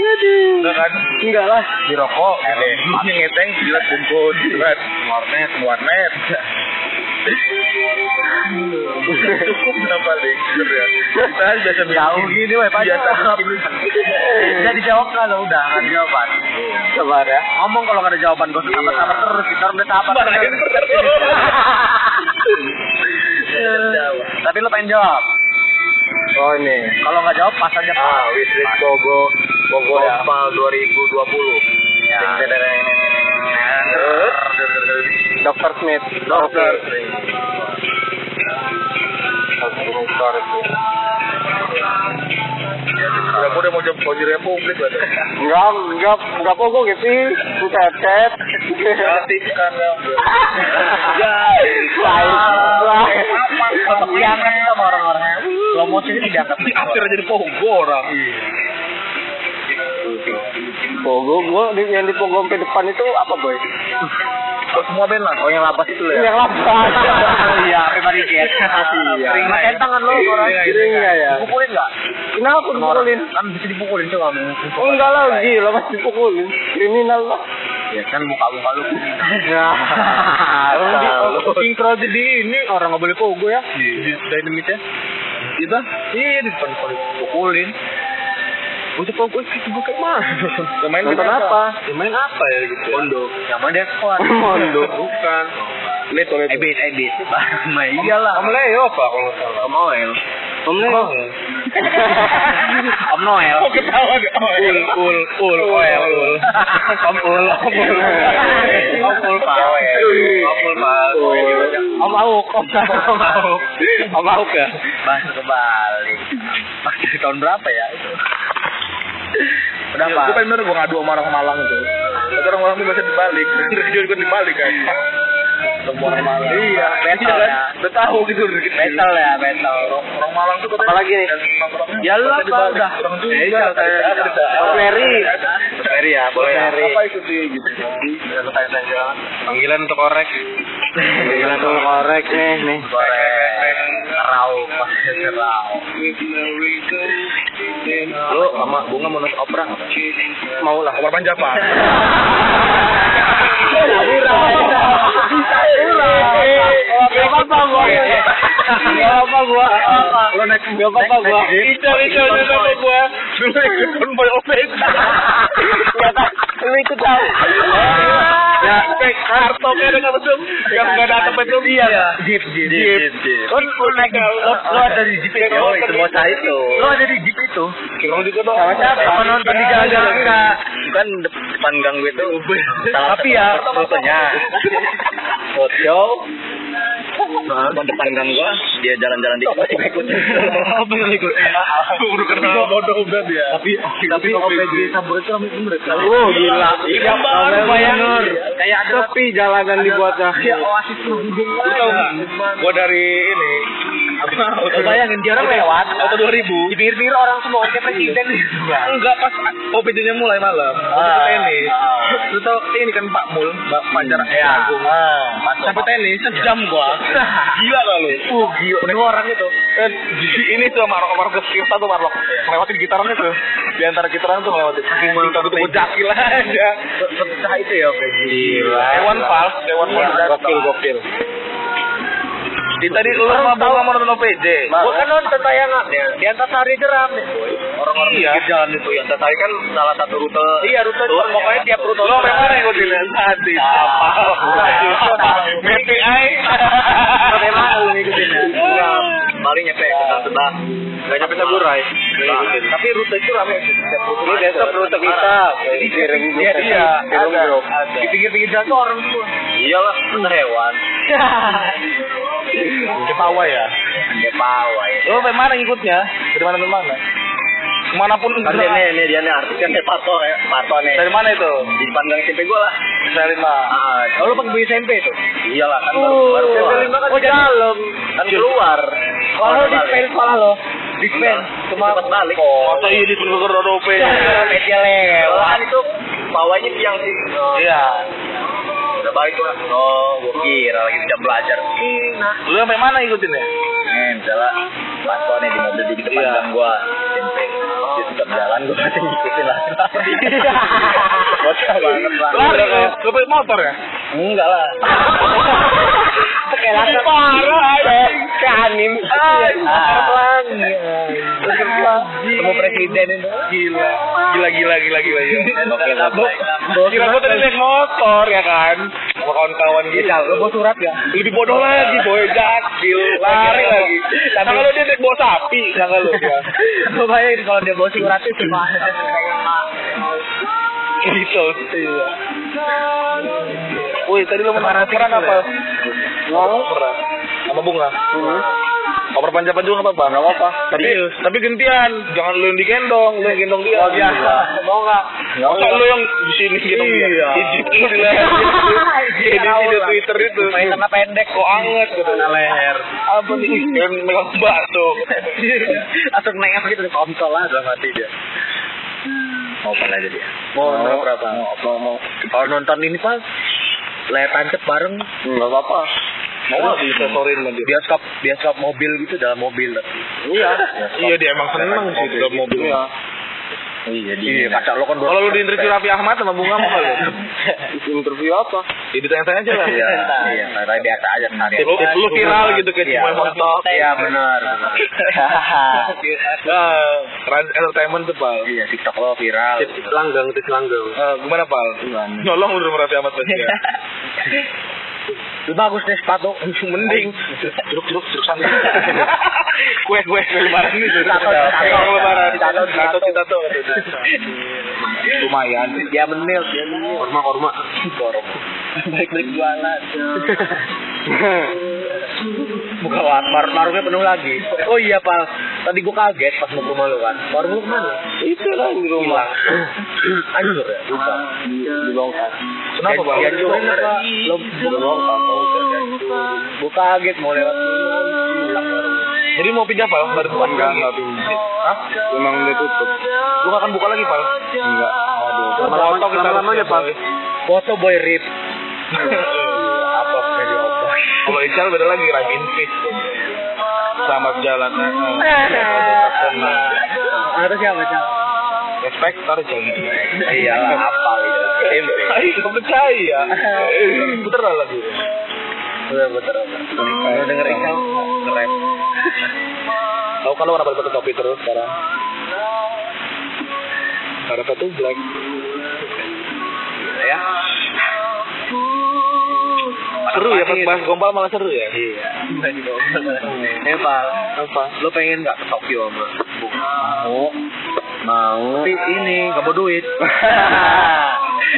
B: Enggak kan?
A: Enggak lah.
B: Di rokok, gede. Ini ngeteng, jilat bungkus, jilat warnet, warnet. Cukup beli paling. Jujur ya. Kita kan biasa beli.
A: Jauh gini weh Pak.
B: Biasa beli.
A: Jadi jawab nggak lo udah nggak ada jawaban. Sabar ya. Ngomong kalau nggak ada jawaban gue sabar sabar terus kita udah sabar.
B: Sabar aja.
A: Tapi lo pengen jawab.
C: Oh ini.
A: Kalau nggak jawab pas aja pak.
C: Ah, Wisris Bogo Bogo Oval 2020.
A: Ya.
C: Dr. Smith.
A: Dokter.
C: Dokter.
B: Udah, gua udah mau jawab Fauzi Republik lah.
C: Enggak, enggak, enggak Bogo gitu. Butet.
B: Aktifkan lah.
A: Wah. Tetap diangkat sama orang-orangnya. Lo mau sih diangkat.
B: Diatur aja di Pogo orang.
C: Iya. Pogo, gua di- yang di Pogo sampai depan itu apa boy?
B: Oh, semua band lah.
C: Oh yang lapas itu
A: Yang
C: ya?
A: lapar. Iya, pribadi dia.
C: Iya.
A: Kering Pakai tangan lo orang.
B: Iya, iya.
C: Kering nggak ya?
A: Dipukulin nggak?
C: Kenapa
A: Sama orang.
C: dipukulin?
A: Kan bisa dipukulin coba.
C: Oh, enggak lah, gila masih dipukulin. Kriminal lah.
A: Ya kan muka-muka lu.
C: Nah, Oh,
A: Orang di
C: Tahu.
A: sinkro jadi ini orang nggak boleh pogo ya.
B: Di
A: Dynamite ya.
B: kita
A: Iya di depan kalau dipukulin. Gue tuh pogo itu gue kayak mah.
B: yang main
C: Nonton
B: kita
C: apa?
A: Yang main apa ya gitu? Mondo. Yang main Deskwan.
C: Mondo.
B: Bukan. Lihat oleh itu.
A: Ebit, ebit. Nah iyalah.
B: Om Leo pak kalau nggak salah.
A: Om Noel.
C: Om Leo.
A: Om Noel.
B: Oh ketawa deh. Om
A: Ul,
B: Leo.
A: ul, ul, oel, ul. Om ul, om ul. Om ul, Pak Oel. Om ul, Pak Oel. Om Auk, Om Om Auk. Om Auk ya? Bahasa kebalik. Pas dari tahun berapa ya itu? Udah, Pak.
B: Gue pengen bener gue ngadu sama orang Malang itu. Tapi orang Malang itu biasa dibalik. Rezeki juga dibalik kan.
A: Iya.
B: Semua orang Malang. Iya.
A: Betul
B: Iya, kan?
A: ya.
B: Udah tahu gitu rezeki.
A: Metal ya, metal.
B: Orang orang Malang tuh katanya.
C: Apalagi nih?
B: Dan nongkrongnya
A: Ya lah,
B: biasa
A: Pak,
B: dibalik.
A: udah.
B: Orang juga.
A: Ya, iya,
B: katanya.
A: iya.
B: Cerita.
C: Mary.
A: Ferry ya, boleh ya.
C: Ferry.
B: Apa itu sih gitu.
C: Panggilan untuk korek. Panggilan untuk korek nih, nih.
A: Goreng. Rau, pasti rau.
C: Lu sama bunga mau nonton opera nggak?
B: Mau lah. Kamar manja pak.
A: Murah.
B: Murah.
A: Murah. Gak apa-apa, Boy. Gak apa-apa,
D: gua. Nggak apa-apa.
B: Lo naik
D: Nggak apa-apa
B: naik-
D: gua.
B: naik jeep,
D: Bisa, bisa,
B: ikut
D: bisa,
B: konvoy.
D: gua.
B: Dulu ikut
C: kan
B: konvoy OPK.
D: Ternyata lu ikut tahu.
B: Ya, kartoknya dengan mesum. Yang nggak datang mesum.
D: Iya.
A: Jeep, jeep, jeep, jeep.
D: Kan lu naik lo, lo ada di jeep itu.
A: Yo, itu bocah itu.
D: Lo ada di jeep itu.
B: Kirong
A: gitu
B: juga dong.
D: Sama siapa? Sama nonton di jalan-jalan enggak.
A: Kan dep- depan gang gue itu salah
D: Tapi ya-
A: satu fotonya. Foto Depan- depan gang gue dia jalan-jalan di gue ikutin.
D: Apa yang ikut?
B: Aku udah kenal bodoh udah
A: ya.
B: dia. Tapi tapi OPG. ya,
D: Oh gila.
B: Iya, baru
D: bayangin.
A: Kayak ada
D: Sepi jalanan di kota.
A: oasis penghubung.
B: Lu tau nggak? Gua dari ini. Apa?
D: Bayangin dia orang lewat.
B: Auto 2000.
D: Di pinggir-pinggir orang semua kayak presiden.
B: Enggak pas OPD-nya mulai malam. Waktu
A: Ah.
B: tenis. Lu tau ini kan Pak Mul, Pak Pancar
A: Iya.
B: Agung. ah. Sampai tenis sejam gua. Gila gak lu? Uh, gila. Udah orang itu. Eh, di- ini tuh marok marok kita tuh marok. Lewatin gitaran itu. Di antara gitaran tuh
A: Oh,
B: lewatin. Kita tuh gua jakil aja.
A: Sepecah itu ya, Pak. Gila.
B: Hewan fals, hewan
A: Iya,
B: fals.
A: gokil,
B: gokil. Tadi lu mau tahu mau nonton OPD.
D: Gua kan nonton
A: ya.
D: tayangannya. Di Antasari itu rame.
A: Orang-orang
B: Iya.
A: pinggir jalan itu yang tertarik kan salah satu rute.
D: Iya, rute
A: Tur,
D: pokoknya tiap rute.
B: Lo memang yang gue dilihat hati.
A: Nah,
B: Apa? MPI.
A: Lo memang lu ngikutin ya? Paling nyampe kenal sebelah. Gak nyampe saburai. Tapi rute itu rame sih.
D: Ini besok rute kita. Jadi kirim
B: Iya, iya.
D: Kirim
B: Ada.
D: grup.
B: Di pinggir-pinggir jalan tuh orang tua.
A: Iyalah, bener ya, hewan.
B: Ketawa ya.
A: Dia pawai.
B: Lo dari mana Oh, ngikutnya? Dari mana ke mana? Kemanapun
A: Kan dia nih, nih dia nih artis kan dia Parto ya, Parto nih.
B: Dari mana itu?
A: Di panggang SMP gue lah.
B: Dari mana?
A: Ah,
D: Oh, lu pakai SMP tuh?
A: iyalah
B: Uh,
A: kan baru baru keluar.
D: Oh, dalam.
A: Kan keluar.
D: Kalau lu di pen sekolah lo. Di pen.
A: cuma
D: Cuma
A: balik. Iya,
B: Masa Oh, ini di pinggir rodo OP?
D: media
A: Kan
D: lewat.
A: itu bawahnya tiang sih.
B: Iya.
A: Udah balik tuh. Oh, gue kira lagi tidak belajar.
B: Lo Nah. sampai mana ngikutin ya?
A: Eh, misalnya Pasko nih di mobil di depan
B: Iya.
A: gang gua SMP. Dia tetap jalan gua pasti ngikutin lah. Bocah banget lah.
B: Lari lo. Lo pakai motor ya?
A: Enggak lah.
D: Kayak laser. Kayak ke anim. Pelan.
A: Temu presiden itu.
B: Gila. Gila, gila, gila, gila. gila.
A: Oke, baik.
B: Kira gua tadi naik motor ya kan Sama kawan-kawan gitu
D: Lu bawa surat ya?
B: Lebih bodoh lagi boy Jakil
A: Iya.
B: Lari lagi Tapi kalau dia naik bawa sapi Sangka lu ya
D: Lu bayangin kalau dia bawa surat itu
B: Gitu Woi tadi lu mau
D: Sama Rafiq
A: gitu,
B: perang apa?
D: juga.
B: Mau perang Sama bunga Iya. Koper panjang juga nggak apa-apa, nggak apa-apa. Tapi
A: Iya.
B: tapi gantian, jangan lu yang digendong, lu yang gendong dia.
D: Oh
A: Iya.
D: biasa. Mau nggak?
B: Masa lu yang di sini gendong dia.
A: Iya.
B: Ijip lu di leher. Di video Twitter itu.
D: Main karena pendek
B: kok anget gitu
A: leher.
B: apa nih dan megang bakso
D: Langsung naik apa gitu kontol lah
A: Dalam hati dia. Mau apa aja dia?
B: Mau nonton
A: berapa? Mau mau. Kalau nonton ini pas layar tancap bareng
B: nggak apa-apa mau
A: Terus
B: disosorin sama dia
A: bioskop bioskop mobil gitu dalam mobil tapi
B: iya iya dia emang seneng sih di dalam mobil
A: Iya. iya
B: Iya,
A: dia kaca lo kan
B: kalau lu diinterview Raffi Ahmad sama Bunga mau lu interview apa ya ditanya-tanya aja lah
A: iya iya tapi biasa aja sehari
B: Lu, lu viral gitu kayak
A: Iya.
B: cuma motor
A: iya benar benar.
B: nah trans entertainment tuh pal
A: iya tiktok lo viral
D: Langgang, tis langgang.
B: Eh, gimana pal nyolong udah sama Raffi Ahmad pasti ya
A: Lu bagus deh sepatu
B: mending jeruk jeruk jeruk santai kue kue kue lebaran nih jeruk
A: Tato, tato.
B: Kue orang lebaran
A: Tato, tato.
B: tato tato lumayan
A: dia menil dia menil
B: korma korma
A: baik baik jualan buka war war warungnya penuh lagi oh iya pal tadi gua kaget pas mau ke rumah lu kan warung lu kemana
B: itu lah di
A: hilang hancur ya juga dibongkar
B: Kenapa, Bang?
A: dihancurin apa lo dibongkar gua kaget mau lewat hilang warung
B: jadi mau pindah pal baru bukan enggak enggak pindah hah
A: emang udah tutup
B: lu akan buka lagi pal enggak aduh
D: Lama-lama-
B: Foto kita
D: lama-lama
B: harus
D: aja, Pal.
B: selesai.
A: foto boy rip apa
B: kalau Ical beda lagi Ramin Fish selamat jalan
A: Ada siapa siapa?
B: Inspektor jangan
A: Iyalah apa gitu. SMP.
B: Ayo, nggak percaya. Bener lah lagu.
A: Bener bener. Lo denger Ical? Nge-rap.
B: tahu kan lo kenapa pakai topi terus sekarang? Karena tuh black.
A: ya
B: Seru ya pas bahas gombal malah seru ya.
A: iya eh pal apa lo pengen nggak ke Tokyo bro
C: Oh.
A: mau mau tapi ini nggak mau duit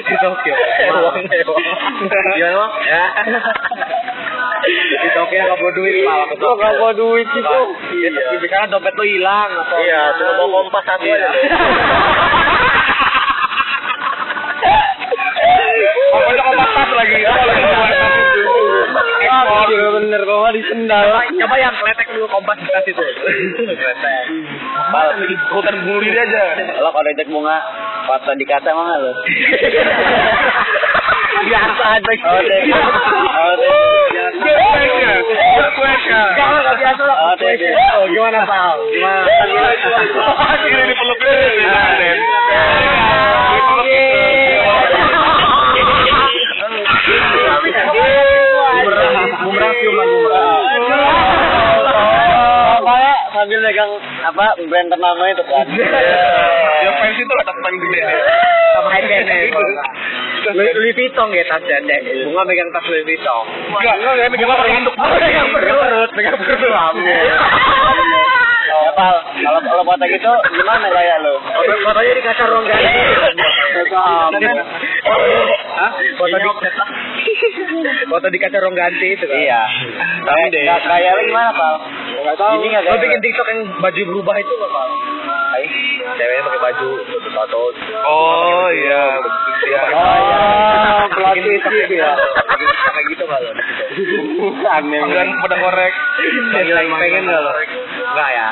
A: di Tokyo
B: Ewang, ewang.
A: Iya, Bang? ya di Tokyo nggak mau duit pal ke
B: Lo nggak bawa duit sih
A: Bang.
B: tuh.
A: Iya, tapi karena dompet lo hilang Iya. atau
B: Iya, cuma bawa kompas satu aja. Pokoknya kompas satu lagi. Apa lagi kompas satu? Ekspor.
C: Iya bener, kok nggak disendal.
A: Coba yang kletek dulu kompas di tas itu. Kletek.
B: Bal, hutan bunuh diri aja.
C: Lo kalau ajak bunga, patah dikata emang nggak lo?
A: Biasa aja.
C: Oh, deh. Oh, deh.
A: Jangan nggak biasa lo.
C: Oh, deh, deh.
A: Oh, gimana pal? Gimana?
B: Akhirnya dipeluk deh. Den. Dipeluk.
A: Bumerang, bumerang sium lah
C: Oh, Pokoknya sambil megang apa brand ternama itu kan.
A: Iya.
B: Ya fans itu ada fan gede nih.
A: Sama high band Louis Vuitton ya tas jandek. Bunga megang tas Louis Vuitton.
B: Enggak, enggak, enggak, enggak,
A: Megang perut, megang perut
C: Iya. Ya pal, kalau kalau patah gitu gimana kayak lo?
A: Fotonya di kaca ruang ganti.
C: Foto apa?
A: Hah? Foto di foto di kaca ruang ganti itu kan?
C: Iya.
A: Tapi
C: Kayak
A: deh.
C: nggak kayak lo gimana pal? Gak tau. Ini nggak
A: Lo
C: kayak
A: bikin TikTok yang baju berubah itu nggak Pak?
C: Ay,
A: Ceweknya pakai baju, sepatu.
B: Oh iya. Iya.
C: Oh,
A: gitu.
C: pelatih itu ya.
A: Kayak gitu nggak lo?
C: Aneh.
B: Dan pada korek.
A: Pengen pengen nggak lo? Nggak ya.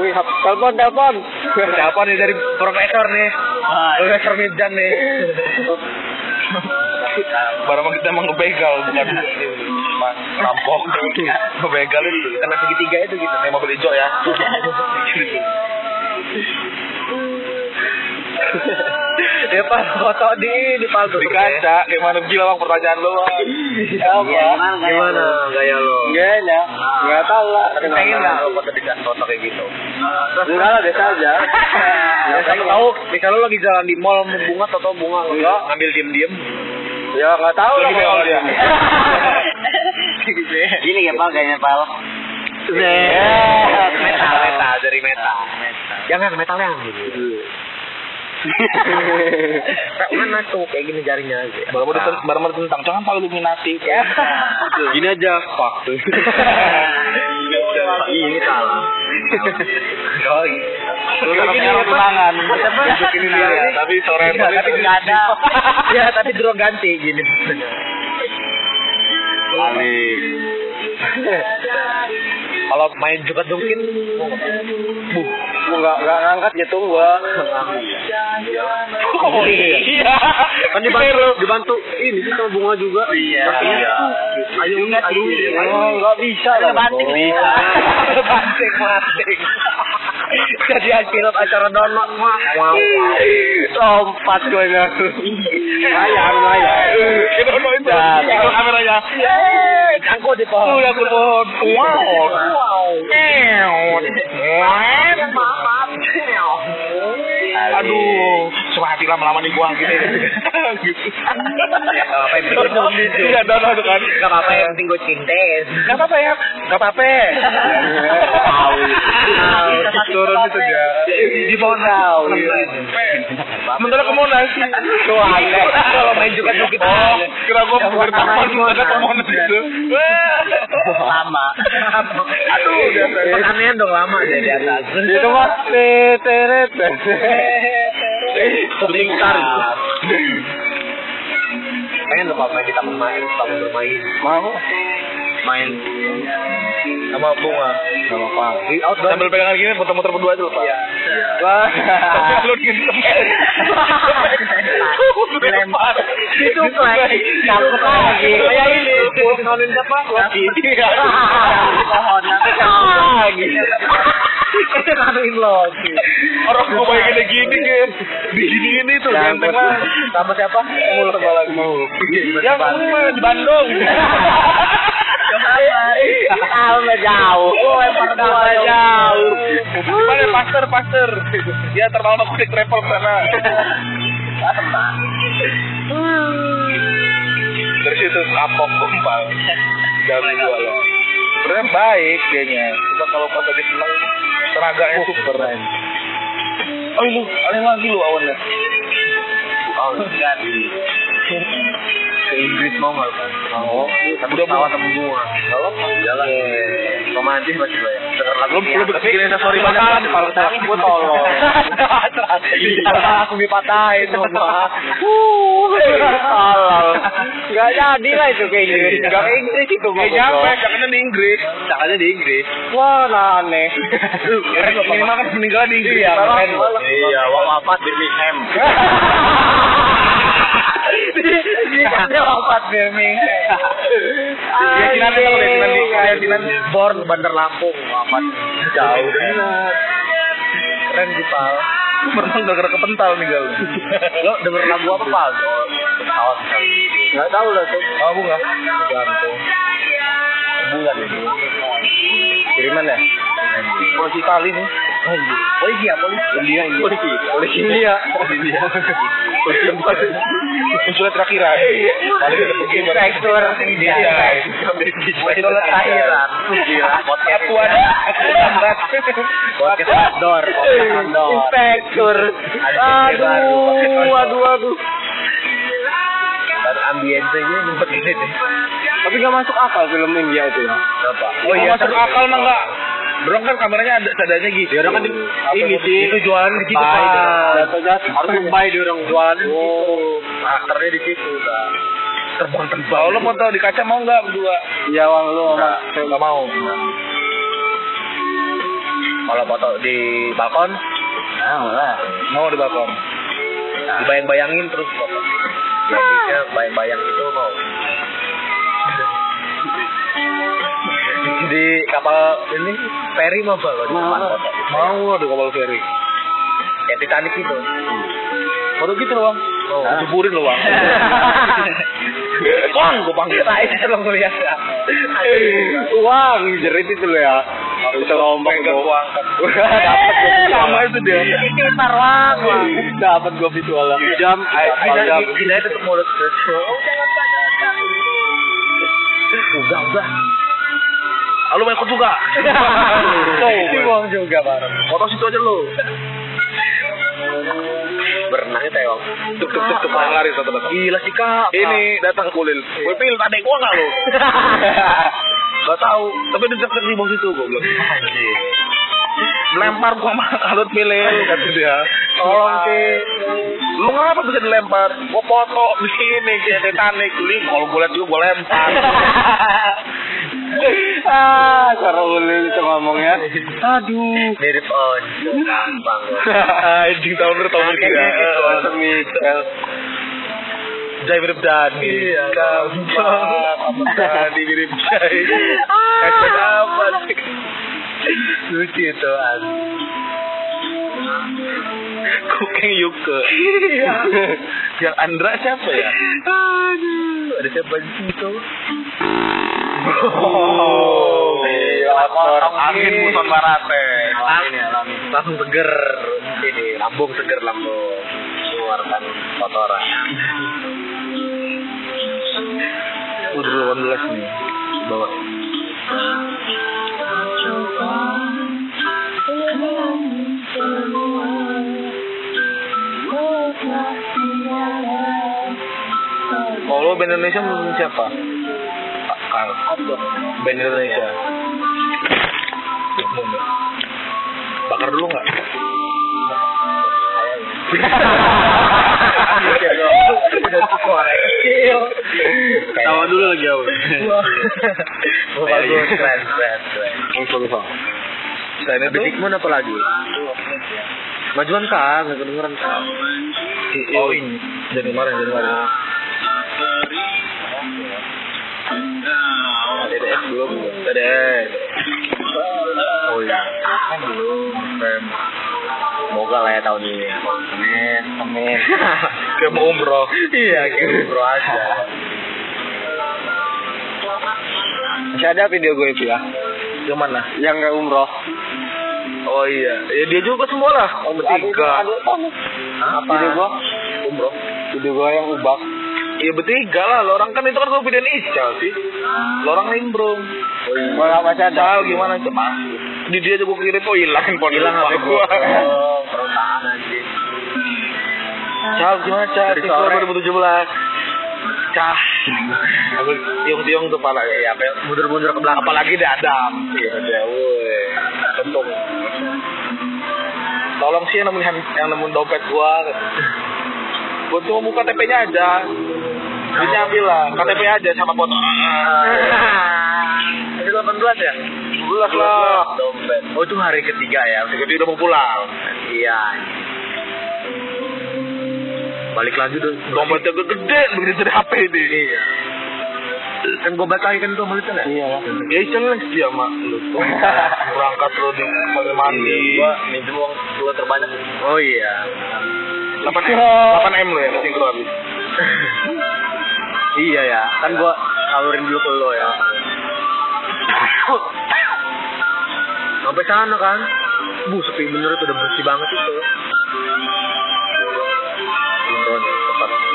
C: Wih, hap- telepon telepon.
A: Siapa nih dari profesor nih?
B: Ah, iya.
A: Profesor Mijan nih.
B: Barang kita emang ngebegal bukan Mas, rampok. Ngebegal itu.
A: Karena segitiga itu gitu.
B: Ini mobil hijau ya.
A: Dia pas foto di di palsu.
B: Di kaca, kayak mana gila bang pertanyaan lo. Bang. Iya,
C: Gimana?
A: Iya, Gimana gaya lo?
C: Enggak ya, enggak tahu lah.
A: Tapi pengen nggak lo foto
C: kan
A: di foto kayak gitu?
C: Enggak lah, biasa aja.
A: Ya,
C: Biasa
A: kamu tahu, misalnya lo lagi jalan di mall mau bunga atau bunga enggak ngambil diem-diem.
C: Ya nggak tahu lah.
B: Lagi
C: kalau Iya.
B: beol dia.
C: Gini ya pal, kayaknya pal.
A: metal, metal
C: Iya.
A: dari metal. Jangan metal yang gitu. Mana tuh kayak gini jarinya aja.
B: Baru mau
C: Nah.
B: diten- baru mau ditentang, jangan pakai Illuminati.
A: Iya.
C: Gini aja, fuck.
A: Ini salah. Doi.
B: Lu
A: Kayak
B: kalau
A: gini
B: punya
A: apa?
B: orang tunangan.
A: Siapa?
B: Ini dia, tapi sore
A: ya. Iya,
B: tadi
A: tapi nggak ada. Ya, tapi dulu ganti gini. Kalau main juga mungkin
C: Gua nggak nggak ngangkat nyetung gua.
A: ya.
B: Oh iya.
A: kan dibantu, dibantu ini sih sama bunga juga. Iya. Ayo nggak ayo.
C: Oh, nggak bisa lah.
A: Banting bisa. Banting banting. Jadi pilot acara dono mah. Wow.
C: Lompat gua ya.
B: Layar, layar. Kita mau itu.
C: Dah.
B: Itu kameranya.
A: Cangkul Iya. di pohon. Iya.
B: Udah aku pohon. Wow. Aduh, cuma hati lama-lama dibuang gitu. Gitu.
A: apa yang penting gue jujur.
B: Iya, dono tuh kan.
A: Gak apa-apa yang penting gue cintain.
B: Gak apa-apa ya, gak apa-apa.
A: Tahu.
B: Turun
C: gitu,
B: itu dia.
A: Di pohon tahu.
B: Sementara ke Monas.
A: Tuh aneh. Kalau main juga tuh kita.
B: Oh, kira gua
A: Yang
B: bertahan
A: pertama
B: sementara ke Monas itu.
A: Lama.
B: Aduh, udah. gitu.
A: Pertanyaan dong lama ya di atas.
C: Itu mah teret.
A: Sebentar. Pengen lupa main di taman main, taman bermain.
C: Mau
A: Main
B: Sama bunga.
C: sama pal.
A: di outdoor.
B: Sambil pegangan gini foto-motor berdua aja
A: Iya.
B: lupa.
C: Wah.
B: Lu gitu. Lempar.
A: Itu lagi, takut lagi.
B: Iya,
A: Iya, Kayak ini, gue nolin siapa?
B: Lagi.
A: Pohon, lagi. Iya. Itu nolin lo.
B: Iya. Orang gua bayangin gini kan. Di gini tuh ganteng lah.
A: Sama siapa? Mulut sama lagi.
B: Yang di Bandung.
A: Coba jauh. Gue lempar
C: Gua
A: jauh.
B: pastor, pastor. Dia terlalu aku di travel ke sana. Terus itu kapok kumpal. Dan gua lah. Sebenarnya baik dianya. Cuma kalau pas lagi senang, tenaganya super. Oh lu, ada lagi lu ya? awannya.
A: Oh, enggak di ke Inggris mau nggak kan?
B: Oh,
A: Tapi
B: udah
A: pesawat
B: mau.
A: sama gua.
B: Kalau
A: Jalan. Romantis masih banyak. Dengar lagu
B: iya. Lu
C: ya.
B: perlu bikin aksesoris banyak
A: Kalau tangan gua tolong. Iya.
C: aku dipatahin sama
A: Halal.
C: Gak jadi lah itu ke Inggris
A: Iya.
C: Gak ke Inggris itu
B: Gak nyampe, jangan di Inggris.
A: Tangannya di Inggris.
C: Wah nah aneh
B: Minimal kan meninggal di Inggris.
C: Iya,
B: Salah,
C: makanya.
B: salah.
A: Iya, wah apa Birmingham.
C: Dia wafat Birmingham
B: Yakinan aja, yakinan di- yakinan.
C: Born Bandar Lampung Wafat
A: Jauh bener.
C: Keren sih Pal
B: Berenang gara-gara kepental nih gal.
C: Lo denger lagu apa Pal?
A: Pesawat.
C: Gak tau lah tuh
B: Kamu nggak?
C: Gantung Bulan itu Kiriman ya?
B: Polisi Itali nih.
C: Polisi ya polisi India India
A: Polisi.
C: Polisi India
B: Polisi empat. Konsulat terakhir. Iya.
C: Inspektur India Iya. Inspektur Iya. akhiran
B: Satuan.
A: Podcast outdoor. Podcast outdoor.
C: Iya. Inspektur
A: Aduh,
C: Aduh
A: aduh,
C: Aduh aduh
A: gitu. Baru ambience-nya ngumpet ini deh.
C: Tapi gak masuk akal film India itu ya
A: Kenapa?
B: Oh iya, masuk akal mah enggak. Bro kan kameranya ada seadanya gitu. Ya kan ini sih itu jualan gitu kan.
C: Jatuh jatuh Harus lebay di orang jualan
A: Oh, karakternya di situ, Kak.
B: Terbang-terbang. Kalau mau tahu di kaca mau enggak berdua?
C: Iya wang lu sama
B: Enggak mau.
A: Kalau foto di balkon,
C: Nah lah
B: Mau di balkon.
A: dibayang-bayangin terus foto. Jadinya bayang-bayang itu mau. di kapal ini ferry mau apa? Di depan
C: Mau.
A: foto.
B: Mau di kapal feri.
A: Ya Titanic itu.
B: Foto gitu loh, Bang. Oh, diburin loh, Bang. Bang, gua panggil.
A: Nah, itu lo ngeliat.
B: Eh,
C: Uang jerit itu lo ya Bisa
B: Sampai
C: lompeng
B: ke
C: gua
B: gua angkat.
C: Dapat
A: Eh.
B: Sama itu dia.
C: Kitar wang Dapat gua visualnya Jam
B: eh,
A: Kita
C: Jam
A: kita itu mulut Udah, udah.
B: Halo, mau ikut juga.
C: Dibuang juga bareng
B: Foto situ aja lo.
A: Berenangnya tewang.
B: Tuk tuk tuk tuk malah lari satu datang.
A: Gila sih, Kak.
B: Ini datang kulil. Gue pilih tadi gua enggak lo. Gak tahu, tapi dicek-cek di bawah situ gua bilang.
A: Anjir.
B: Lempar gua mah kalut pilih kata dia.
C: Tolong sih
B: Lu ngapa bisa dilempar? Gua foto di sini kayak Titanic. Lu kalau gua lihat juga gua lempar.
C: ah, cara ulil itu ngomongnya.
A: ya.
C: Aduh.
A: Mirip Onjo. Gampang.
B: Anjing tahun baru tahun ini.
C: Kayak gitu, Anton Mikel.
B: Iya. Jai mirip Dani.
A: Iya,
B: Gampang.
A: gampang.
B: Dani mirip Jai. Efek apa sih?
A: Eh, Lucu itu, An.
B: Kukeng Yuke.
A: Iya.
B: Yang Andra siapa ya?
A: Aduh. Ada siapa itu?
B: Oh,
A: iya,
B: Kotor
A: orang
B: angin
A: ini.
B: muson eh. barate.
A: Alami
B: ya.
A: nih, alami. Langsung seger. Ini, lambung seger, lambung. Keluarkan kotoran.
B: Udah 18 nih. Bawa. Kalau band Indonesia menurut siapa? Kal. Band Indonesia. Bakar dulu nggak?
A: Udah korek.
B: Tawa dulu lagi gitu. awal.
A: Bagus, keren, keren, keren.
B: Selain itu,
A: Bigman apa lagi? Majuan kan, nggak kedengeran kan?
B: oh ini jadi kemarin jadi kemarin.
A: TDS belum.
B: TDS.
A: Oh iya. Kan belum. Semoga lah ya tahun ini. Amin, amin.
B: Kayak mau umroh.
A: Iya, gitu bro aja.
C: Masih ada video gue itu ya,
B: Yang mana?
C: yang ke umroh.
B: Oh iya, ya dia juga semua lah. Om bertiga. Apa? Video gua umroh.
C: Video gua yang ubah.
B: Iya bertiga lah, lo orang kan itu kan gua videoin Ical sih. Lo orang nimbrung.
C: Gua nggak baca ada.
B: Ical gimana coba? Di dia aja gua kirim kok hilang handphone hilang apa gua.
A: perusahaan anjing
B: Cal gimana Cal?
C: Dari
B: Dari sore
C: sore.
B: 2017. Cah. Aku tiung-tiung tuh pala ya, apa mundur-mundur ke belakang. Apalagi dadam. Iya, dia woi. Tentung. Tolong sih yang nemuin hand- yang nemuin dompet gua. Gua cuma buka TP-nya aja. Bisa ambil lah, KTP aja sama foto.
A: itu 18 ya
B: Belas lah.
A: dompet
B: Oh itu hari ketiga ya, hari ketiga udah mau pulang.
A: iya balik lagi tuh
B: Dompetnya gede-gede begitu dari HP ini. Iya.
A: kan gue batalin tuh malu ya
C: Iya.
B: Ya iseng dia mak lu tuh berangkat lu di kamar mandi.
A: minjem uang lo terbanyak oh iya
B: 8 m, 8 m lu ya mesti keluar.
A: iya ya kan gue salurin dulu ke lo ya sampai sana kan bu sepi bener itu udah bersih banget itu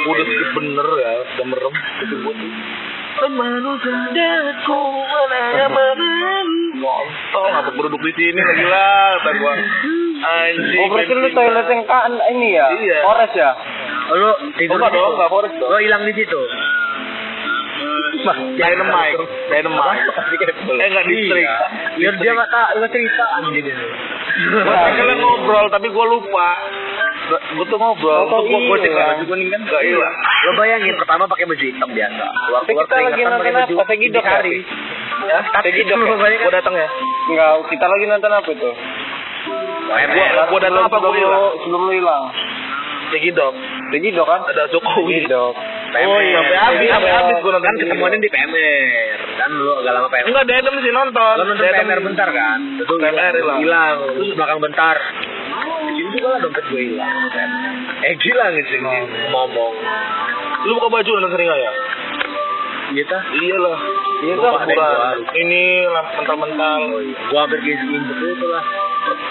B: Udah sih bener ya, udah merem. Itu gua tuh. Ngontong, apa berduduk di sini lagi lah, kata gua. Anjing.
C: Oh berarti lu
B: anjing.
C: toilet yang kan ini ya?
B: Iya.
C: Forest ya?
A: Oh, lo tidur
B: enggak
A: di situ?
B: dong, enggak forest dong.
A: Lo hilang di situ.
B: Dynamite, dynamite. Eh enggak distrik.
A: Biar Iya. dia nggak tak nggak cerita anjing ini.
B: Gua pengen ngobrol tapi gua lupa. Gua tuh ngobrol,
C: Oh,
B: gua gua cek
C: iya.
B: baju kuning kan enggak hilang.
A: Lo bayangin pertama pakai baju hitam biasa. Keluar
C: Tapi kita lagi nonton apa? Segi dok ya?
A: hari.
B: Ya, tapi
A: Dok ya?
B: gua datang ya.
C: Enggak, kita lagi nonton apa itu?
B: Eh, gua gua datang apa gua
C: Sebelum lu-
B: hilang?
C: Sebelum lu hilang.
B: Tegi dong.
C: Segi dok kan?
B: Ada Jokowi.
C: Segi dok.
B: Oh iya, sampai habis, sampai habis gua nonton
A: Kan ketemuannya di PMR. Kan lo agak lama PMR.
B: Enggak, Dedem sih nonton.
A: Lo nonton
B: Dedem.
A: PMR bentar kan? Terus
B: PMR hilang.
A: Hilang. Terus belakang bentar. Di sini juga lah dompet gue hilang. Eh gila gitu ngomong.
B: Oh. Lu buka baju nonton sering nggak ya?
A: Iya tah.
B: Iyalah.
C: Iya
A: Lupa
C: dok.
A: ada yang baru.
B: Ini lah, mental-mental.
A: Oh, iya. Gua hampir kismin betul itu lah.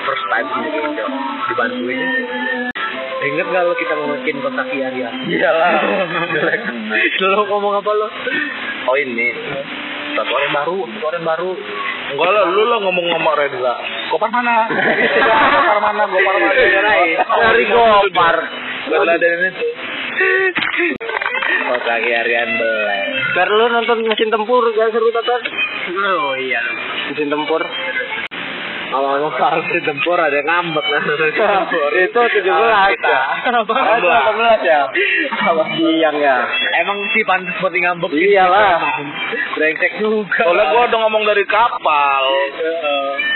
A: First time gitu, di Indo. Dibantuin. Ingat gak lo kita ngomongin kontak iya ya?
B: Iyalah.
A: lo ngomong apa lo?
B: Oh ini.
A: Satu orang baru, satu orang baru.
B: Enggak lah, lu lah ngomong sama Redla. Kopar mana? Kopar mana? Kopar mana?
A: Dari Gopar.
B: Redla dari itu.
A: Kontak iya Rian belai.
C: Biar lu nonton mesin tempur, gak seru tonton?
A: Oh iya.
C: Mesin tempur.
A: Kalau ngomong soal si tempur ada yang ngambek nah.
C: itu 17 ya.
A: Kenapa?
C: Ah, itu 18 ya? Awas siang ya.
A: Emang si pantas buat ngambek. gitu,
C: Iyalah.
A: Brengsek juga.
B: Iya Soalnya gua udah ngomong dari kapal.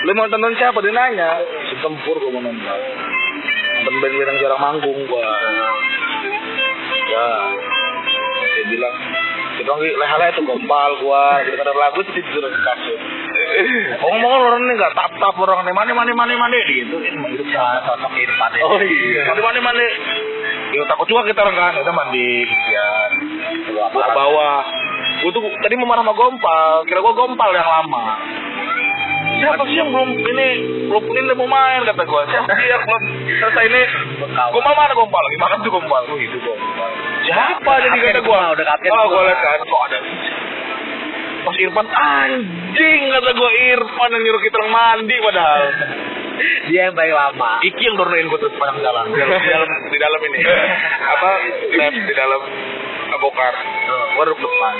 B: Lu mau tonton siapa? Dia nanya. Si tempur gua mau nonton. Nonton band-band yang jarang manggung gua. Ya. Dia bilang, kita nggak lehala itu gompal gua. Kita ada lagu sih tidur di kasur. Ngomong orang ini nggak tap tap orang ini mani mani mani mani gitu. Ini mah hidup salah sosok ini mandi.
A: Oh, iya.
B: Mani mani mani. Ya takut juga kita orang kan, kita mandi. Ya ke bawah. Gue tuh tadi mau marah sama Gompal, kira gue Gompal yang lama. Siapa sih yang belum ini belum ini udah mau main kata gue. Siapa sih yang belum selesai ini? Gompal mana Gompal? Gimana tuh Gompal? Oh itu Gompal. Siapa
A: Udah
B: jadi
A: kaget
B: kata gue?
A: gua, udah kaget
B: Oh
A: gua.
B: gue liat kan kok ada. Pas Irfan ah, anjing kata gue Irfan yang nyuruh kita orang mandi padahal.
A: Dia yang paling lama.
B: Iki yang donorin gue terus panjang jalan di dalam, di dalam di dalam ini apa lab di dalam eh, bokar gue duduk depan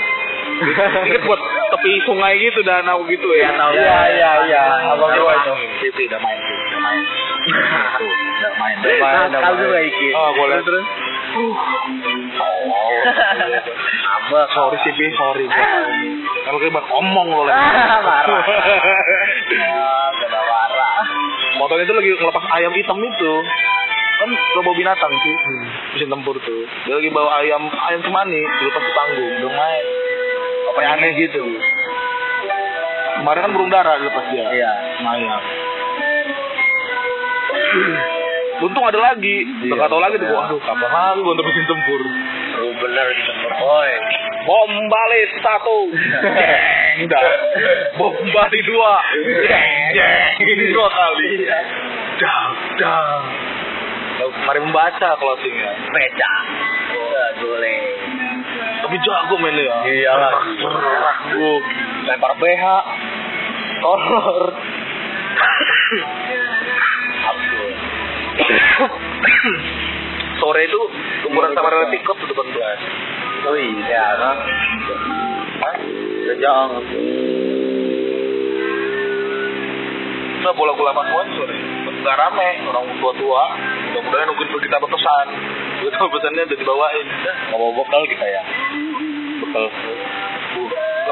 B: Dikit buat tepi sungai gitu danau gitu ya.
C: Iya, iya, iya. Abang
B: Udah
C: gua itu.
B: main. Itu udah main sih, udah main. Tuh, udah main. Udah main.
C: Nah,
A: Nakal juga Iki.
B: Oh, boleh. Terus. Oh. Hmm.
A: Apa?
B: Sorry sih, Bi, sorry. Bi. Kalau kayak bak omong lo lagi.
A: Ah, marah.
B: Motornya itu lagi ngelepas ayam hitam itu. Kan lo bawa binatang sih. Mesin tempur tuh. Dia lagi bawa ayam ayam cemani, dilepas ke panggung. Udah main. Apa yang aneh gitu. Kemarin kan burung dara dilepas dia.
A: Iya.
B: Mayang. Untung ada lagi.
A: Iya.
B: Udah nggak tahu lagi tuh gua. Aduh, kapan lagi gua untuk mesin tempur. gitu,
A: Oh bener di tempat. Oi.
B: Bom balik satu. Deng. Enggak. Bom bali dua. Jeng, jeng. Dua kali. Dang, dang. Lalu, Mari membaca closingnya.
A: Beca. Nggak boleh.
B: Tapi jago mainnya ya.
A: Iya lah.
B: Jago. Lempar BH. Horor. Absurd. Sore itu kumpulan sama relatif klub tuh 18.
A: Iya, Oh iya Ya, kan.
B: Hah?
A: Sejong.
B: Nah, bola bola pakuan sore. Gak rame, orang tua-tua. Mudah-mudahan nungguin kita berpesan. Kita pesannya udah dibawain.
A: Nggak mau bekal kita ya. Bekal.
B: 18.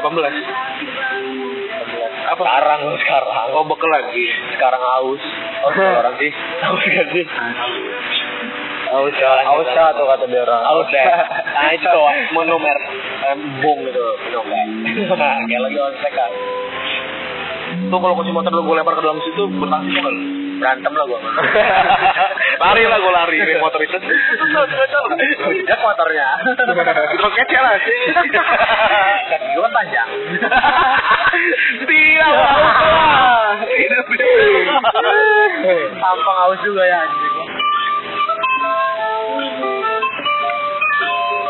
A: Apa? Sekarang sekarang.
B: Oh, bekal lagi.
A: sekarang haus. Haus
B: nggak
A: orang sih. Haus gak sih? Haus ya. Haus ya tuh kata dia orang. Haus ya. Nah itu tuh monomer em, bung gitu. Monomer. Kayak lagi on seka.
B: Tuh kalau kunci motor lu gue lempar ke dalam situ, benang sih kan.
A: Berantem lah gua.
B: lari lah gue lari dari motor itu.
A: Ya motornya.
B: Terus kece lah sih.
A: Kaki gua kan panjang.
B: Tidak mau kalah. Tidak bisa.
A: Tampang haus juga ya anjing.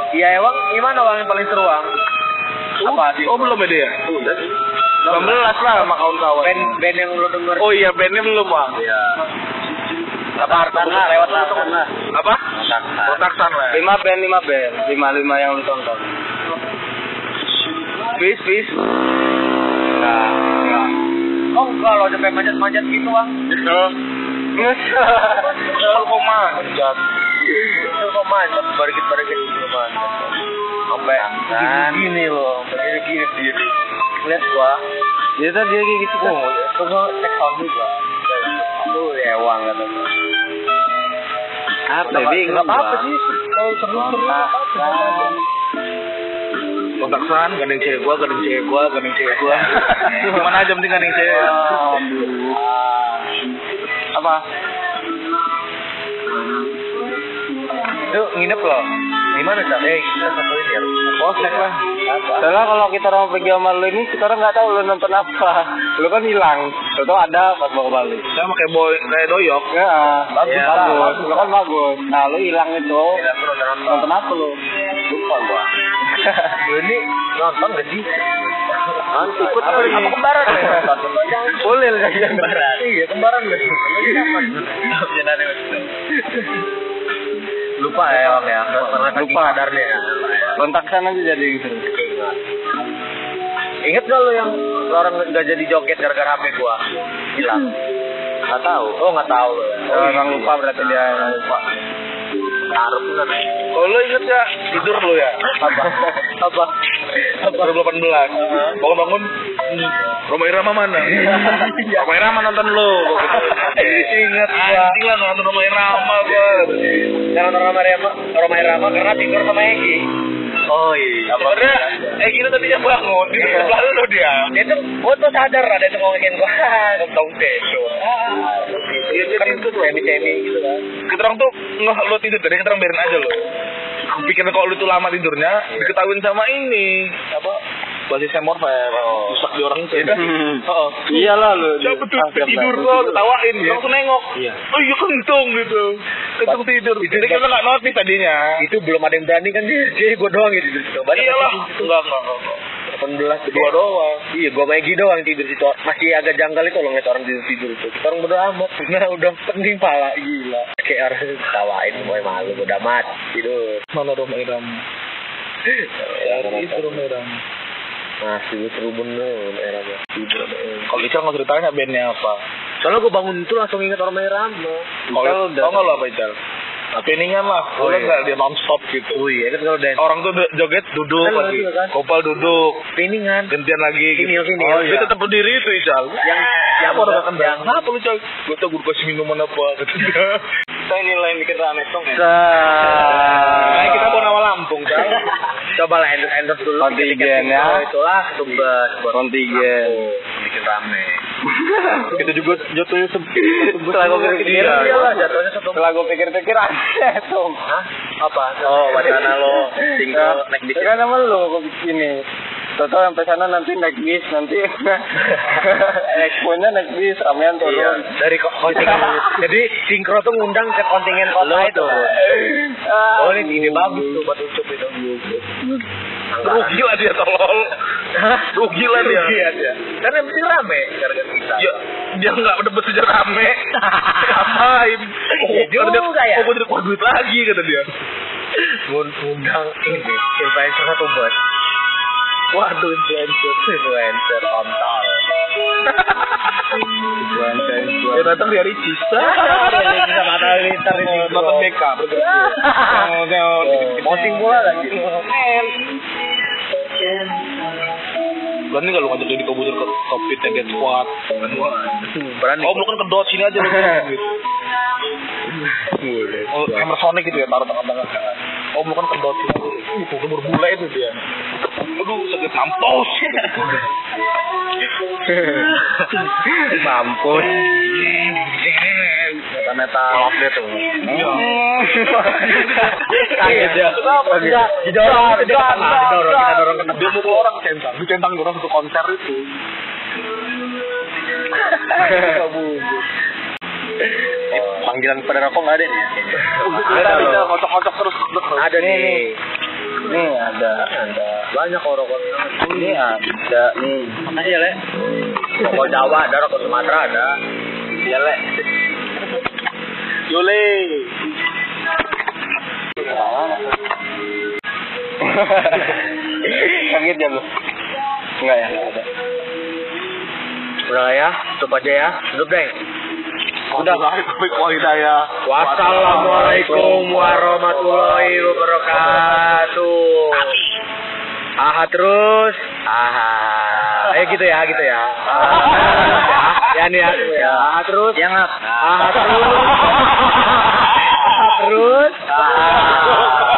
A: Iya emang gimana bang yang paling seru bang? Apa sih?
B: Oh belum ada ya? Udah. 19 lah sama kawan-kawan.
A: Band band yang lu denger?
B: Oh iya bandnya belum bang.
A: iya.
B: Apa
A: Tartan lah, lewat lah. Tartan lah.
B: Apa? Kontaksan lah.
C: lima band lima band lima lima yang lu tonton
B: Bis bis.
A: Nah, iya. Oh enggak loh, sampai manjat-manjat gitu bang.
B: Nyesel. Nyesel kok Gitu. manjat.
A: Itu kok manjat, barikit-barikit gitu manjat. Sampai gini-gini loh, begini-gini diri. Lihat gua,
C: ya tadi dia kayak gitu kan
A: Oh, itu gua cek sound juga. Itu ewang kata gua.
C: apa ya, bingung
A: Nggak apa-apa
C: gua.
A: sih. Kalau seru-seru nggak apa-apa.
B: Kontaksan, gandeng cewek gua, gandeng cewek gua, gandeng cewek gua. Gimana aja penting gandeng cewek. Apa?
A: Itu nginep loh. Di mana Cak? Eh, kita satuin ya.
B: eh,
C: Kosek lah.
A: Apa?
C: Soalnya kalau kita mau pergi sama lu ini, kita orang nggak tahu lu nonton apa. Lu kan hilang. Tentu ada pas mau balik.
B: Saya pakai boy, kayak doyok.
C: Ya, bagus,
A: Ya,
C: bagus.
A: bagus.
C: Lu kan bagus. Nah, lu hilang itu.
A: Kita perlu nonton.
C: Nonton apa lu?
A: Lupa gua. Lu ini nonton gak sih?
C: Nanti ikut
A: Apa-
C: lagi.
A: apa kembaran ya?
C: Boleh lah kalian.
A: Kembaran. Iya, kembaran gak sih? Lupa ya, Om ya. Karena saking
C: Lupa.
A: sadarnya ya.
C: Kontak sana aja jadi gitu.
A: Ingat gak lo yang orang gak jadi joget gara-gara HP gua? Hilang. Gak tahu. Oh iya, nggak tahu lo.
C: Oh, orang lupa berarti dia.
A: lupa. Harus bener.
B: Kalau lu inget ya, tidur lu ya.
A: Apa? Apa? Apa?
B: 2018. Bangun-bangun. Hmm, Rumah Irama mana? Rumah Irama nonton lu.
C: Iya.
A: Ingat ya.
B: Anjing lah nonton Rumah Irama gua.
A: Jangan nonton Roma Irama, Roma Irama karena tidur sama Egi. Oh iya.
B: Sebenernya, eh gitu tadi yang bangun. Di sebelah lu dia.
A: Dia tuh, gua tuh sadar ada yang ngomongin gua.
B: Tong teso.
A: Iya, kan itu tuh semi-semi gitu kan.
B: Kita orang tuh ngeh lu tidur tadi, kita orang biarin aja lu. Pikirnya kalau lu tuh lama tidurnya,
A: Iya.
B: diketahuin sama ini. Apa? Basisnya Morfem.
A: Oh.
B: Rusak di orang itu. ya kan?
A: Iya.
B: Oh.
C: Iyalah lu.
B: Siapa tuh
C: Ah, siap,
B: tidur
C: siap.
B: lo ketawain langsung nengok.
C: Iya.
B: Oh iya kentung gitu. Kentung tidur. kan? Jadi kita nggak notice tadinya.
A: Itu belum ada yang berani kan dia. Jadi gua doang yang tidur situ. Banyak
B: Iyalah.
A: yang tidur
B: Enggak enggak enggak.
A: situ. 18
B: Dua doang.
A: Iya, gua Maggie doang tidur situ. Masih agak janggal itu kalau ngeliat orang tidur tidur itu. Kita orang bodo amat. Nah, udah penting pala gila. Kayak orang ketawain, gue malu, bodo amat tidur. Iya,
B: Mana dong Iram? Itu dong Iram.
A: Masih seru bener era gua. tidur. eh.
B: Kalau Ical mau ceritanya bandnya apa?
A: Soalnya gua bangun itu langsung inget orang merah lo.
B: Kalau tau nggak lo apa Ical? Peningan lah,
A: Oh,
B: oh,
A: iya.
B: nggak dia nonstop gitu.
A: Oh iya, kan kalau dance.
B: Orang tuh joget duduk
A: Kan lo
B: lagi,
A: juga kan?
B: kopal duduk,
A: Piningan.
B: gantian lagi. gitu.
A: Vinil, vinil,
B: oh,
A: iya.
B: dia tetap berdiri itu Ical.
A: Yang yang
B: Apa orang
A: yang
B: kendang? Kenapa lu Ical? Gue tau gue kasih minuman apa gitu. Saya nilai bikin rame song ya. Nah, kita mau nama Lampung kan.
A: Coba lah endorse endorse dulu.
C: Kontingen,
A: tiket-tiket
C: ya.
A: dulu, Itulah tugas buat
C: Kontigen.
A: Oh, bikin rame.
B: Kita juga jatuhnya sepi.
C: Setelah gua pikir-pikir.
A: Iya, iyalah, jatuhnya satu
C: Setelah gua pikir-pikir aneh tuh.
B: Oh,
A: Hah? Apa? Oh, wacana lo single neck di
C: Ya kan sama lu gua begini.
E: Toto sampai sana nanti naik bis nanti eksponya naik bis ramean turun.
A: Iya, dari ko- kontingen. Jadi sinkro tuh ngundang ke kontingen kota itu.
E: Ah,
A: Oh, ini ide bagus tuh buat ucup itu.
B: Rugi lah dia tolol. Rugi lah dia.
A: Iya, iya. Kan MC rame gara-gara kita.
B: Ya, dia nggak dapet sejak rame. Ngapain?
A: Iya
B: Kata dia,
A: juga ya.
B: Oh, gue tidak keluar duit lagi kata dia.
A: ngundang ini influencer satu bot. Waduh, influencer, influencer kontol.
E: influencer,
B: Dia
E: influencer.
B: Eh, datang dia ricis.
A: Bisa mata liter ini.
B: Nonton BK bergerak. Oh.
A: Posting pula lagi.
B: Berani nggak lu ngajak jadi komputer ke kopi teget squad?
A: Berani.
B: Oh, lu kan kedot sini aja lu. Oh, hammer sonic gitu ya, taruh tengah-tengah. Oh, lu kan kedot sini. Uh, kumur bule itu dia. Aduh, sakit mampus.
E: Mampus. Meta-meta update tuh.
B: Iya.
A: Kaget ya. Iya. Enggak, didorong, didorong, didorong, kita dorong ke
B: Dia mukul orang centang. Dia centang orang ke konser itu.
E: Panggilan pada rokok nggak ada nih?
B: Kita bisa kocok-kocok terus.
A: Ada nih.
E: Nih ada, ada.
A: Banyak orang orang
E: Ini ada nih.
A: Makasih ya, Le. Rokok Jawa ada, rokok Sumatera ada. Iya, Le.
B: Yole.
E: Kaget ya lu? Enggak ya, nggak ada.
A: Udah lah ya, tutup aja ya. Tutup deh.
B: Udah lah, tapi kalau ya.
A: Wassalamualaikum warahmatullahi wabarakatuh. Aha terus. Aha. Eh gitu ya, gitu ya. Aha, ya, ya nih ya. ya. Aha terus.
E: Yang up.
A: Aha terus. Aha terus. Aha.